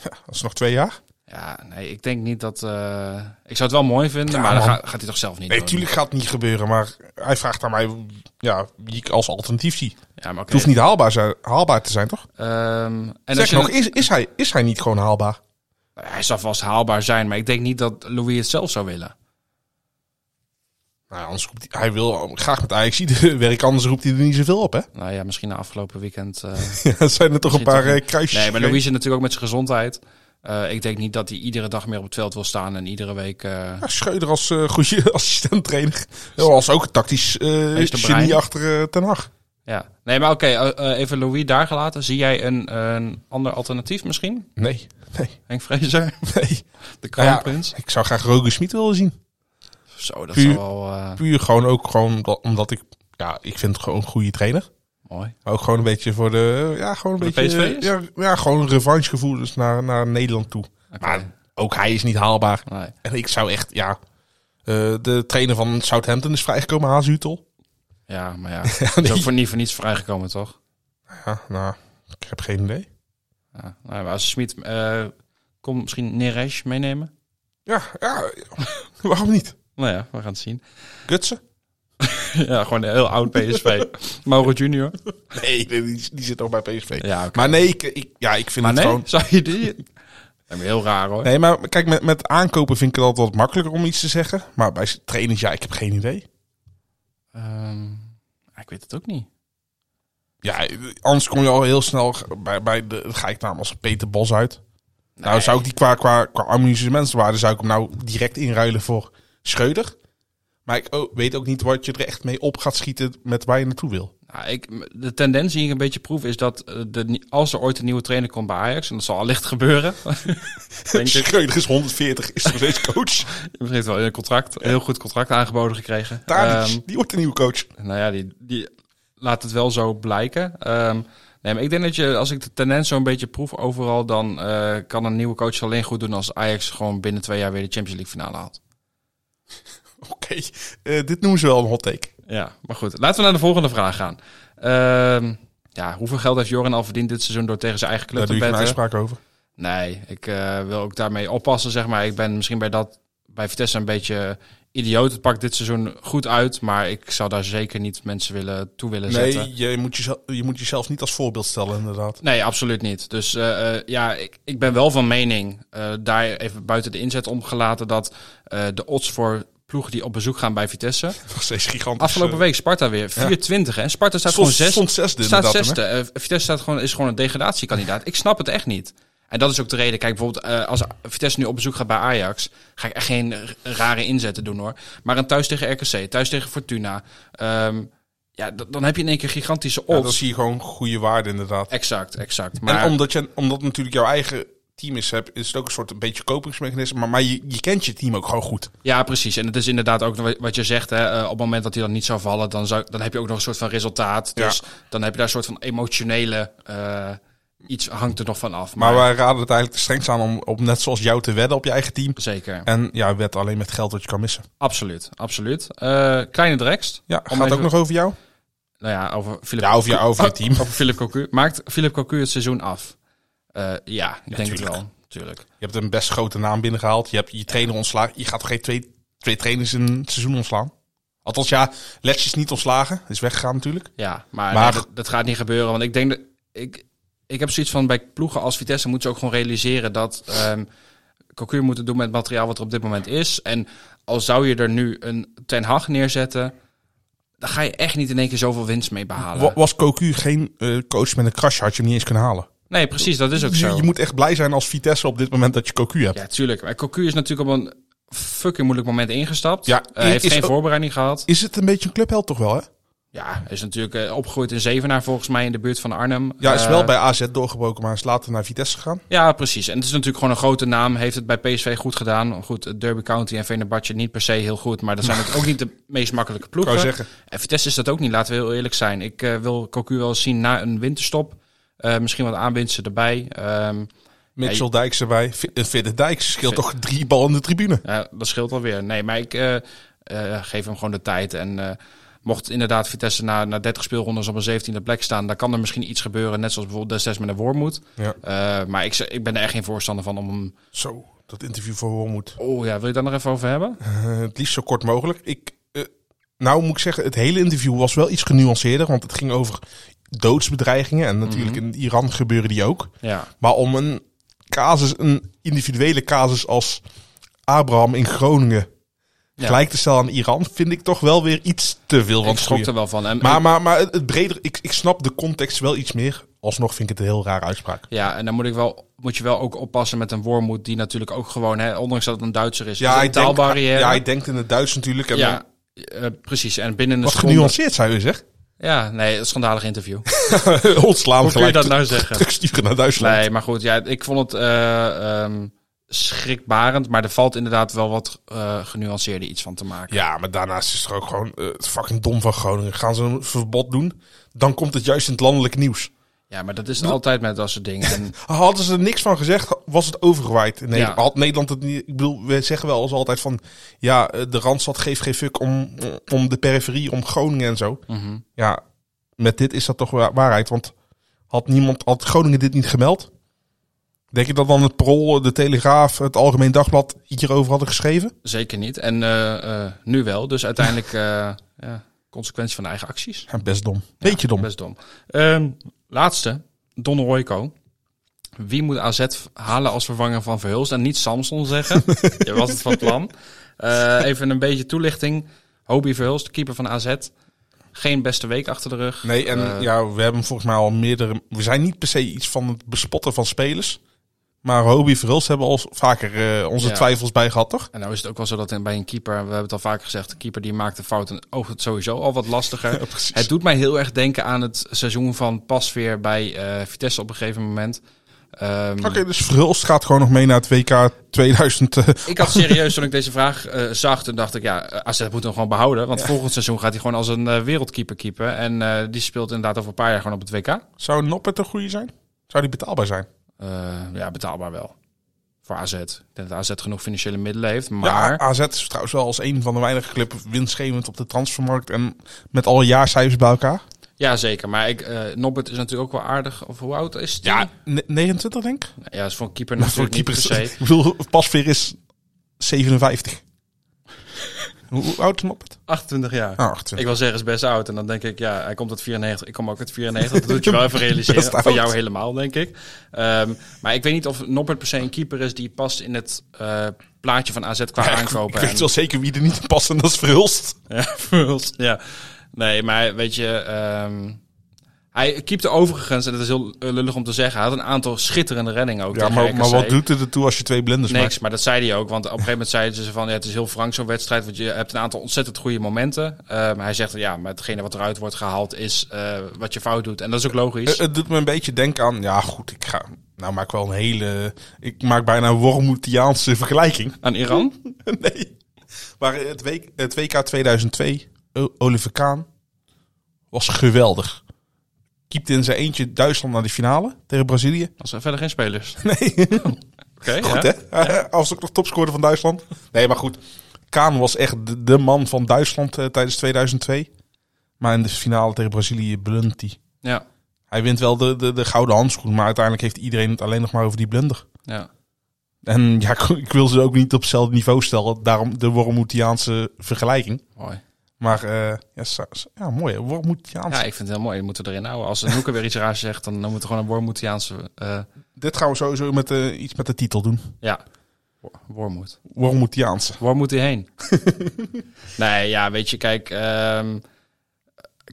S6: Dat is nog twee jaar.
S7: Ja, nee, ik denk niet dat... eh, ik zou het wel mooi vinden,
S6: Ja,
S7: maar dan
S6: man.
S7: ga- gaat hij toch zelf niet
S6: Nee,
S7: doen.
S6: tuurlijk gaat het niet gebeuren. Maar hij vraagt aan mij ja, wie ik als alternatief zie. Het
S7: Ja, maar oké.
S6: hoeft niet haalbaar, zijn- haalbaar te zijn, toch?
S7: Ehm, en als
S6: Zeg
S7: je
S6: nog, is, is, hij, is hij niet gewoon haalbaar?
S7: Hij zou vast haalbaar zijn, maar ik denk niet dat Louis het zelf zou willen.
S6: Nou, anders roept hij, hij wil graag met Ajax werken, anders roept hij er niet zoveel op, hè?
S7: Nou ja, misschien na afgelopen weekend. eh,
S6: Ja, zijn er toch een
S7: misschien
S6: paar eh,
S7: niet.
S6: kruisjes?
S7: Nee, maar
S6: geweest?
S7: Louis is natuurlijk ook met zijn gezondheid. Eh, ik denk niet dat hij iedere dag meer op het veld wil staan en iedere week. eh,
S6: Ja, Schreuder als eh goede assistent-trainer. Ja, was ook een tactisch eh,
S7: Meester Brein.
S6: genie achter eh, Ten Hag.
S7: Ja, nee, maar oké, eh, eh, even Louis daar gelaten. Zie jij een, een ander alternatief misschien?
S6: Nee, nee,
S7: Henk Vrezer,
S6: nee.
S7: de
S6: Nou ja,
S7: kroonprins.
S6: ik zou graag Roger Smit willen zien.
S7: Zo, dat
S6: Puur-
S7: is wel eh,
S6: Puur gewoon ook gewoon dat- omdat ik... Ja, ik vind het gewoon een goede trainer.
S7: mooi.
S6: Maar ook gewoon een beetje voor de... eh, Ja, gewoon een
S7: Voor de
S6: beetje...
S7: PSV'ers?
S6: Ja, ja, gewoon revanchegevoelens naar, naar Nederland toe.
S7: Maar,
S6: Maar ook hij is niet haalbaar.
S7: nee.
S6: En ik zou echt, ja... eh, de trainer van Southampton is vrijgekomen, Hazutel.
S7: Ja, maar ja.
S6: Ja,
S7: Is ook
S6: die-
S7: voor niet voor niets vrijgekomen, toch?
S6: ja, nou, ik heb geen idee.
S7: Ja. Nou, maar als Smit eh komt, misschien Neres meenemen?
S6: Ja, ja, waarom niet?
S7: Nou ja, we gaan het zien.
S6: Gutsen?
S7: ja, gewoon een heel oud PSV. Mauro Junior.
S6: Nee, die, die zit nog bij PSV.
S7: Ja, oké.
S6: Maar nee, ik, ik, ja, ik vind
S7: Maar
S6: het
S7: nee,
S6: gewoon...
S7: zou je die... Dat is heel raar, hoor.
S6: Nee, maar kijk, met, met aankopen vind ik het altijd wat makkelijker om iets te zeggen. Maar bij trainers, ja, ik heb geen idee.
S7: Ehm, ik weet het ook niet.
S6: Ja, anders kom je al heel snel g- bij, bij de... ga ik namens Peter Bos uit. Nou,
S7: Nee.
S6: zou ik die qua, qua, qua amusementswaarde... zou ik hem nou direct inruilen voor Schreuder. Maar ik o- weet ook niet wat je er echt mee op gaat schieten met waar je naartoe wil.
S7: Nou, ik, de tendens die ik een beetje proef is dat eh, de, nie- als er ooit een nieuwe trainer komt bij Ajax, en dat zal allicht gebeuren, denk ik,
S6: Schreuder is 140, is nog steeds coach.
S7: misschien heeft wel een contract, een heel goed contract aangeboden gekregen.
S6: Tadic,
S7: Ehm,
S6: die wordt de nieuwe coach.
S7: nou ja, die, die laat het wel zo blijken. Ehm, nee, maar ik denk dat je, als ik de tendens zo'n beetje proef overal, dan eh, kan een nieuwe coach alleen goed doen als Ajax gewoon binnen twee jaar weer de Champions League finale haalt.
S6: Oké, eh, dit noemen ze wel een hot take.
S7: Ja, maar goed. Laten we naar de volgende vraag gaan. Ehm, ja, hoeveel geld heeft Joran al verdiend dit seizoen door tegen zijn eigen club
S6: Daar doe
S7: te
S6: ik een
S7: betten?
S6: uitspraak over.
S7: Nee, ik eh, wil ook daarmee oppassen, zeg maar. Ik ben misschien bij dat bij Vitesse een beetje idioot. Het pakt dit seizoen goed uit, maar ik zou daar zeker niet mensen willen toe willen zetten.
S6: Nee, je moet, jezelf, je moet jezelf niet als voorbeeld stellen, inderdaad.
S7: Nee, absoluut niet. Dus eh, eh, ja, ik, ik ben wel van mening, eh, daar even buiten de inzet omgelaten, dat eh, de odds voor ploegen die op bezoek gaan bij Vitesse.
S6: Nog steeds gigantisch.
S7: Afgelopen
S6: eh,
S7: week Sparta weer, 420 hè. Sparta staat
S6: Stond,
S7: gewoon zes,
S6: stond zesde
S7: staat
S6: inderdaad. toen, hè?
S7: zesde. Eh, Vitesse staat gewoon, is gewoon een degradatiekandidaat. Ik snap het echt niet. En dat is ook de reden. Kijk, bijvoorbeeld eh, als Vitesse nu op bezoek gaat bij Ajax... ga ik echt geen r- rare inzetten doen, hoor. Maar een thuis tegen RKC, thuis tegen Fortuna... ehm, ja, d- dan heb je in één keer gigantische
S6: Ja,
S7: odds.
S6: dan zie je gewoon goede waarde, inderdaad.
S7: Exact, exact. Maar
S6: En omdat, je, omdat natuurlijk jouw eigen team is, heb, is het ook een soort een beetje kopingsmechanisme. Maar, maar je, je kent je team ook gewoon goed.
S7: Ja, precies. En het is inderdaad ook wa- wat je zegt. Hè, eh, op het moment dat hij dan niet zou vallen, dan, zou, dan heb je ook nog een soort van resultaat.
S6: Ja.
S7: Dus dan heb je daar een soort van emotionele... eh, iets hangt er nog van af.
S6: Maar wij raden het eigenlijk strengst aan om, om net zoals jou te wedden op je eigen team.
S7: Zeker,
S6: En ja, wed alleen met geld wat je kan missen.
S7: absoluut, absoluut. Eh, kleine drekst.
S6: Ja,
S7: Om
S6: gaat het ook
S7: even-
S6: nog over jou?
S7: Nou ja, over Philip
S6: Ja, over, jou, over je team.
S7: over Philip Cocu. Maakt Philip Cocu het seizoen af? Eh, ja, ik denk
S6: tuurlijk.
S7: het wel. Tuurlijk.
S6: Je hebt een best grote naam binnengehaald. Je hebt je trainer ontslagen. Je gaat toch geen twee, twee trainers in een seizoen ontslaan? Althans, ja, Letch is niet ontslagen. Is weggegaan natuurlijk.
S7: Ja, maar,
S6: Maar-
S7: nee, dat, dat gaat niet gebeuren. Want ik denk dat... Ik, ik heb zoiets van, bij ploegen als Vitesse moeten ze ook gewoon realiseren dat... ehm Cocu moet het doen met het materiaal wat er op dit moment is. En al zou je er nu een Ten Hag neerzetten... dan ga je echt niet in één keer zoveel winst mee behalen.
S6: Wa- Was Cocu geen eh, coach met een crash, had je hem niet eens kunnen halen.
S7: nee, precies, dat is ook
S6: Dus je,
S7: zo.
S6: je moet echt blij zijn als Vitesse op dit moment dat je Cocu hebt.
S7: Ja, tuurlijk. Maar Cocu is natuurlijk op een fucking moeilijk moment ingestapt.
S6: Ja,
S7: Eh, heeft
S6: is
S7: geen
S6: ook-
S7: voorbereiding gehad.
S6: Is het een beetje een clubheld toch wel, hè?
S7: Ja, is natuurlijk eh, opgegroeid in Zevenaar volgens mij in de buurt van Arnhem.
S6: Ja, is
S7: Eh,
S6: wel bij AZ doorgebroken, maar is later naar Vitesse gegaan.
S7: Ja, precies. En het is natuurlijk gewoon een grote naam. Heeft het bij PSV goed gedaan. Goed, Derby County en Venerbatje niet per se heel goed. Maar dat zijn natuurlijk ook niet de meest makkelijke
S6: Ik wou
S7: ploegen.
S6: zeggen.
S7: En Vitesse is dat ook niet, laten we heel eerlijk zijn. Ik eh, wil Cocu wel eens zien na een winterstop. Eh, misschien wat aanwinsten erbij. Ehm,
S6: Mitchell Dijks erbij. Vi- eh, Vidde Dijks scheelt toch drie ballen in de tribune.
S7: ja, dat scheelt alweer. Nee, maar ik eh, eh, geef hem gewoon de tijd. En eh, mocht inderdaad Vitesse na, na 30 speelrondes op een 17e plek staan... dan kan er misschien iets gebeuren. Net zoals bijvoorbeeld destijds met een Wormoed.
S6: Ja.
S7: Eh, maar ik, z- ik ben er echt geen voorstander van om hem...
S6: Zo, dat interview voor Wormoed.
S7: Oh ja, wil je het daar nog even over hebben?
S6: Eh, het liefst zo kort mogelijk. Ik, eh, nou moet ik zeggen, het hele interview was wel iets genuanceerder, want het ging
S7: Mhm.
S6: over doodsbedreigingen en natuurlijk in Iran gebeuren die ook.
S7: Ja,
S6: Maar om een casus, een individuele casus als Abraham in Groningen gelijk te stellen aan Iran, vind ik toch wel weer iets te veel. van
S7: Ik
S6: het
S7: schrok
S6: goede.
S7: er wel van. En-
S6: Maar, maar, maar het het breder, ik, ik snap de context wel iets meer. Alsnog vind ik het een heel rare uitspraak.
S7: Ja, en dan moet, ik wel, moet je wel ook oppassen met een wormoed die natuurlijk ook gewoon, hè, ondanks dat het een Duitser is, is
S6: Dus Ja,
S7: een
S6: hij, denkt,
S7: taalbarrière.
S6: ja, hij denkt in het Duits natuurlijk. En
S7: Ja, eh, precies. En binnen een
S6: wat
S7: seconde-
S6: genuanceerd Oh, zou je zeggen.
S7: Ja, nee, een schandalig interview.
S6: Ontslaan
S7: Hoe kun je
S6: gelijk.
S7: dat nou zeggen?
S6: Terug sturen naar Duitsland.
S7: Nee, maar goed, ja, ik vond het eh, ehm, schrikbarend, maar er valt inderdaad wel wat eh genuanceerder iets van te maken.
S6: Ja, maar daarnaast is er ook gewoon eh, het fucking dom van Groningen. Gaan ze een verbod doen, dan komt het juist in het landelijk nieuws.
S7: Ja, maar dat is altijd met dat soort dingen. En
S6: Hadden ze er niks van gezegd, was het overgewaaid. Nee,
S7: Ja.
S6: had Nederland het niet. Ik bedoel, we zeggen wel als altijd van. Ja, eh, de randstad geeft geen fuck om, om de periferie, om Groningen en zo.
S7: Mhm.
S6: Ja, met dit is dat toch wa- waarheid. Want had niemand, had Groningen dit niet gemeld? Denk je dat dan het Parool, de Telegraaf, het Algemeen Dagblad iets hierover hadden geschreven?
S7: zeker niet. En eh, eh, nu wel, dus uiteindelijk eh, ja, consequentie van eigen acties.
S6: Ja, best dom. Beetje dom.
S7: Best dom. Ehm, laatste, Don Royco. Wie moet AZ halen als vervanger van Verhulst? En niet Samson zeggen. Je was het van plan. Eh, even een beetje toelichting. Hobie Verhulst, keeper van AZ. Geen beste week achter de rug.
S6: Nee, en
S7: Eh,
S6: ja, we hebben volgens mij al meerdere. We zijn niet per se iets van het bespotten van spelers. Maar Hobie Verhulst hebben al vaker eh, onze
S7: Ja.
S6: twijfels bij gehad, toch?
S7: En nou is het ook wel zo dat in- bij een keeper, we hebben het al vaker gezegd, de keeper die maakt een fout en oogt het sowieso al wat lastiger.
S6: precies.
S7: het doet mij heel erg denken aan het seizoen van Pasveer bij eh, Vitesse op een gegeven moment. Ehm,
S6: Oké, dus Verhulst gaat gewoon nog mee naar het WK 2000. eh,
S7: Ik had serieus, toen ik deze vraag eh, zag, toen dacht ik, ja, eh, AZ moet hem gewoon behouden. Want volgend seizoen gaat hij gewoon als een eh, wereldkeeper keeper. En eh, die speelt inderdaad over een paar jaar gewoon op het WK.
S6: zou Noppert een goede zijn? Zou die betaalbaar zijn?
S7: Eh, ja, betaalbaar wel. Voor AZ. Ik denk dat AZ genoeg financiële middelen heeft, maar...
S6: Ja, AZ is trouwens wel als een van de weinige clubs winstgevend op de transfermarkt. En met alle jaarcijfers bij elkaar.
S7: Ja, zeker. Maar ik, eh, Nobbert is natuurlijk ook wel aardig. Of hoe oud is die?
S6: Ja, ne- 29 denk ik.
S7: ja is voor een keeper
S6: Maar voor
S7: natuurlijk
S6: keepers-
S7: niet per se.
S6: Ik bedoel, Pasveer is 57. Hoe hoe oud is Noppert?
S7: 28 jaar.
S6: Ah, 28.
S7: Ik wil zeggen, is best oud. En dan denk ik, ja, hij komt uit 94. Ik kom ook uit 94. Dat doet je wel even
S6: Best
S7: realiseren.
S6: oud.
S7: Van jou helemaal, denk ik. Ehm, maar ik weet niet of Noppert per se een keeper is die past in het eh, plaatje van AZ qua
S6: Ja, ik-
S7: aankopen.
S6: Ik weet
S7: En-
S6: wel zeker wie er niet in past en dat is Verhulst.
S7: Ja, Verhulst, ja. Nee, maar weet je... ehm, hij keepte overigens, en dat is heel eh, lullig om te zeggen... Hij had een aantal schitterende reddingen ook.
S6: Ja,
S7: tegen
S6: maar, maar
S7: RKC.
S6: wat doet het ertoe als je twee blenders
S7: Niks, maar dat zei hij ook. Want op een gegeven moment zeiden ze van... Ja, het is heel frank zo'n wedstrijd, want je hebt een aantal ontzettend goede momenten. Eh, maar hij zegt, ja, maar hetgene wat eruit wordt gehaald is eh, wat je fout doet. En dat is ook logisch.
S6: maakt? Eh, het doet me een beetje denken aan... Ja, goed, ik ga... Nou maak ik wel een hele... Ik maak bijna een Wormoetiaanse vergelijking.
S7: Aan Iran?
S6: nee. Maar het, week, het WK 2002, O- Oliver Kaan, was geweldig. Kiepte in zijn eentje Duitsland naar de finale tegen Brazilië.
S7: Als er verder geen spelers.
S6: Nee,
S7: Oké,
S6: goed
S7: ja.
S6: hè? Als ook nog topscorer van Duitsland. Nee, maar goed. Kaan was echt de, de man van Duitsland eh, tijdens 2002. Maar in de finale tegen Brazilië blunt hij.
S7: Ja,
S6: Hij wint wel de, de, de gouden handschoen, maar uiteindelijk heeft iedereen het alleen nog maar over die blunder.
S7: ja.
S6: En ja, ik- ik wil ze ook niet op hetzelfde niveau stellen. Daarom de Wormoetiaanse vergelijking.
S7: Mooi.
S6: Maar eh, ja, sa- sa- ja, mooi. hè. Wormoetiaans.
S7: Ja, ik vind het heel mooi. Je moet er erin houden. Als een hoeker weer iets raars zegt, dan, dan moet er gewoon een Wormoetiaanse... eh
S6: Dit gaan we sowieso met, eh, iets met de titel doen.
S7: ja, Wor- Wormoed.
S6: Wormoetiaanse.
S7: Waar moet hij heen? nee, ja, weet je, kijk... ehm,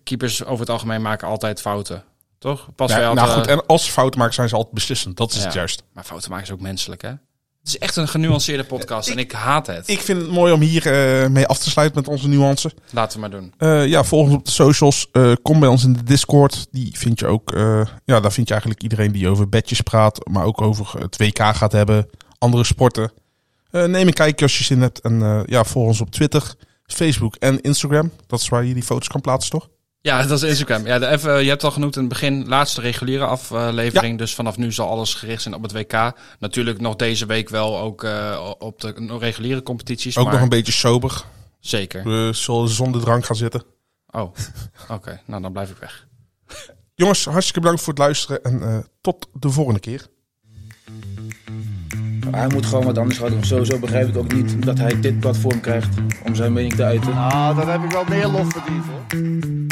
S7: keepers over het algemeen maken altijd fouten. Toch? Pas
S6: Ja,
S7: wel.
S6: nou goed, en als ze fouten maken zijn ze altijd beslissend. Dat is
S7: Ja.
S6: het juist.
S7: Maar fouten maken is ook menselijk, hè? Het is echt een genuanceerde podcast en ik haat het.
S6: Ik vind het mooi om hier eh, mee af te sluiten met onze nuance.
S7: Laten we maar doen.
S6: Eh, ja, volg ons op de socials. Eh, kom bij ons in de Discord. Die vind je ook. eh, ja, daar vind je eigenlijk iedereen die over bedjes praat. Maar ook over eh, het WK gaat hebben. Andere sporten. Eh, neem een kijkje als je zin hebt. En eh, ja, volg ons op Twitter, Facebook en Instagram. Dat is waar je die foto's kan plaatsen, toch?
S7: Ja, dat is Instagram. Ja, de- even, je hebt al genoemd in het begin, laatste reguliere aflevering. Dus vanaf nu zal alles gericht zijn op het WK. Natuurlijk nog deze week wel ook eh, op de nog reguliere competities.
S6: Ook
S7: maar
S6: nog een beetje sober.
S7: Zeker.
S6: We zullen zonder drank gaan zitten.
S7: Oh, oké. Nou, dan blijf ik weg.
S6: Jongens, hartstikke bedankt voor het luisteren. En eh, tot de volgende keer.
S9: Hij moet gewoon wat anders gaan doen. Sowieso begrijp ik ook niet dat hij dit platform krijgt om zijn mening te uiten.
S12: Ah, dat heb ik wel meer lof verdiend hoor.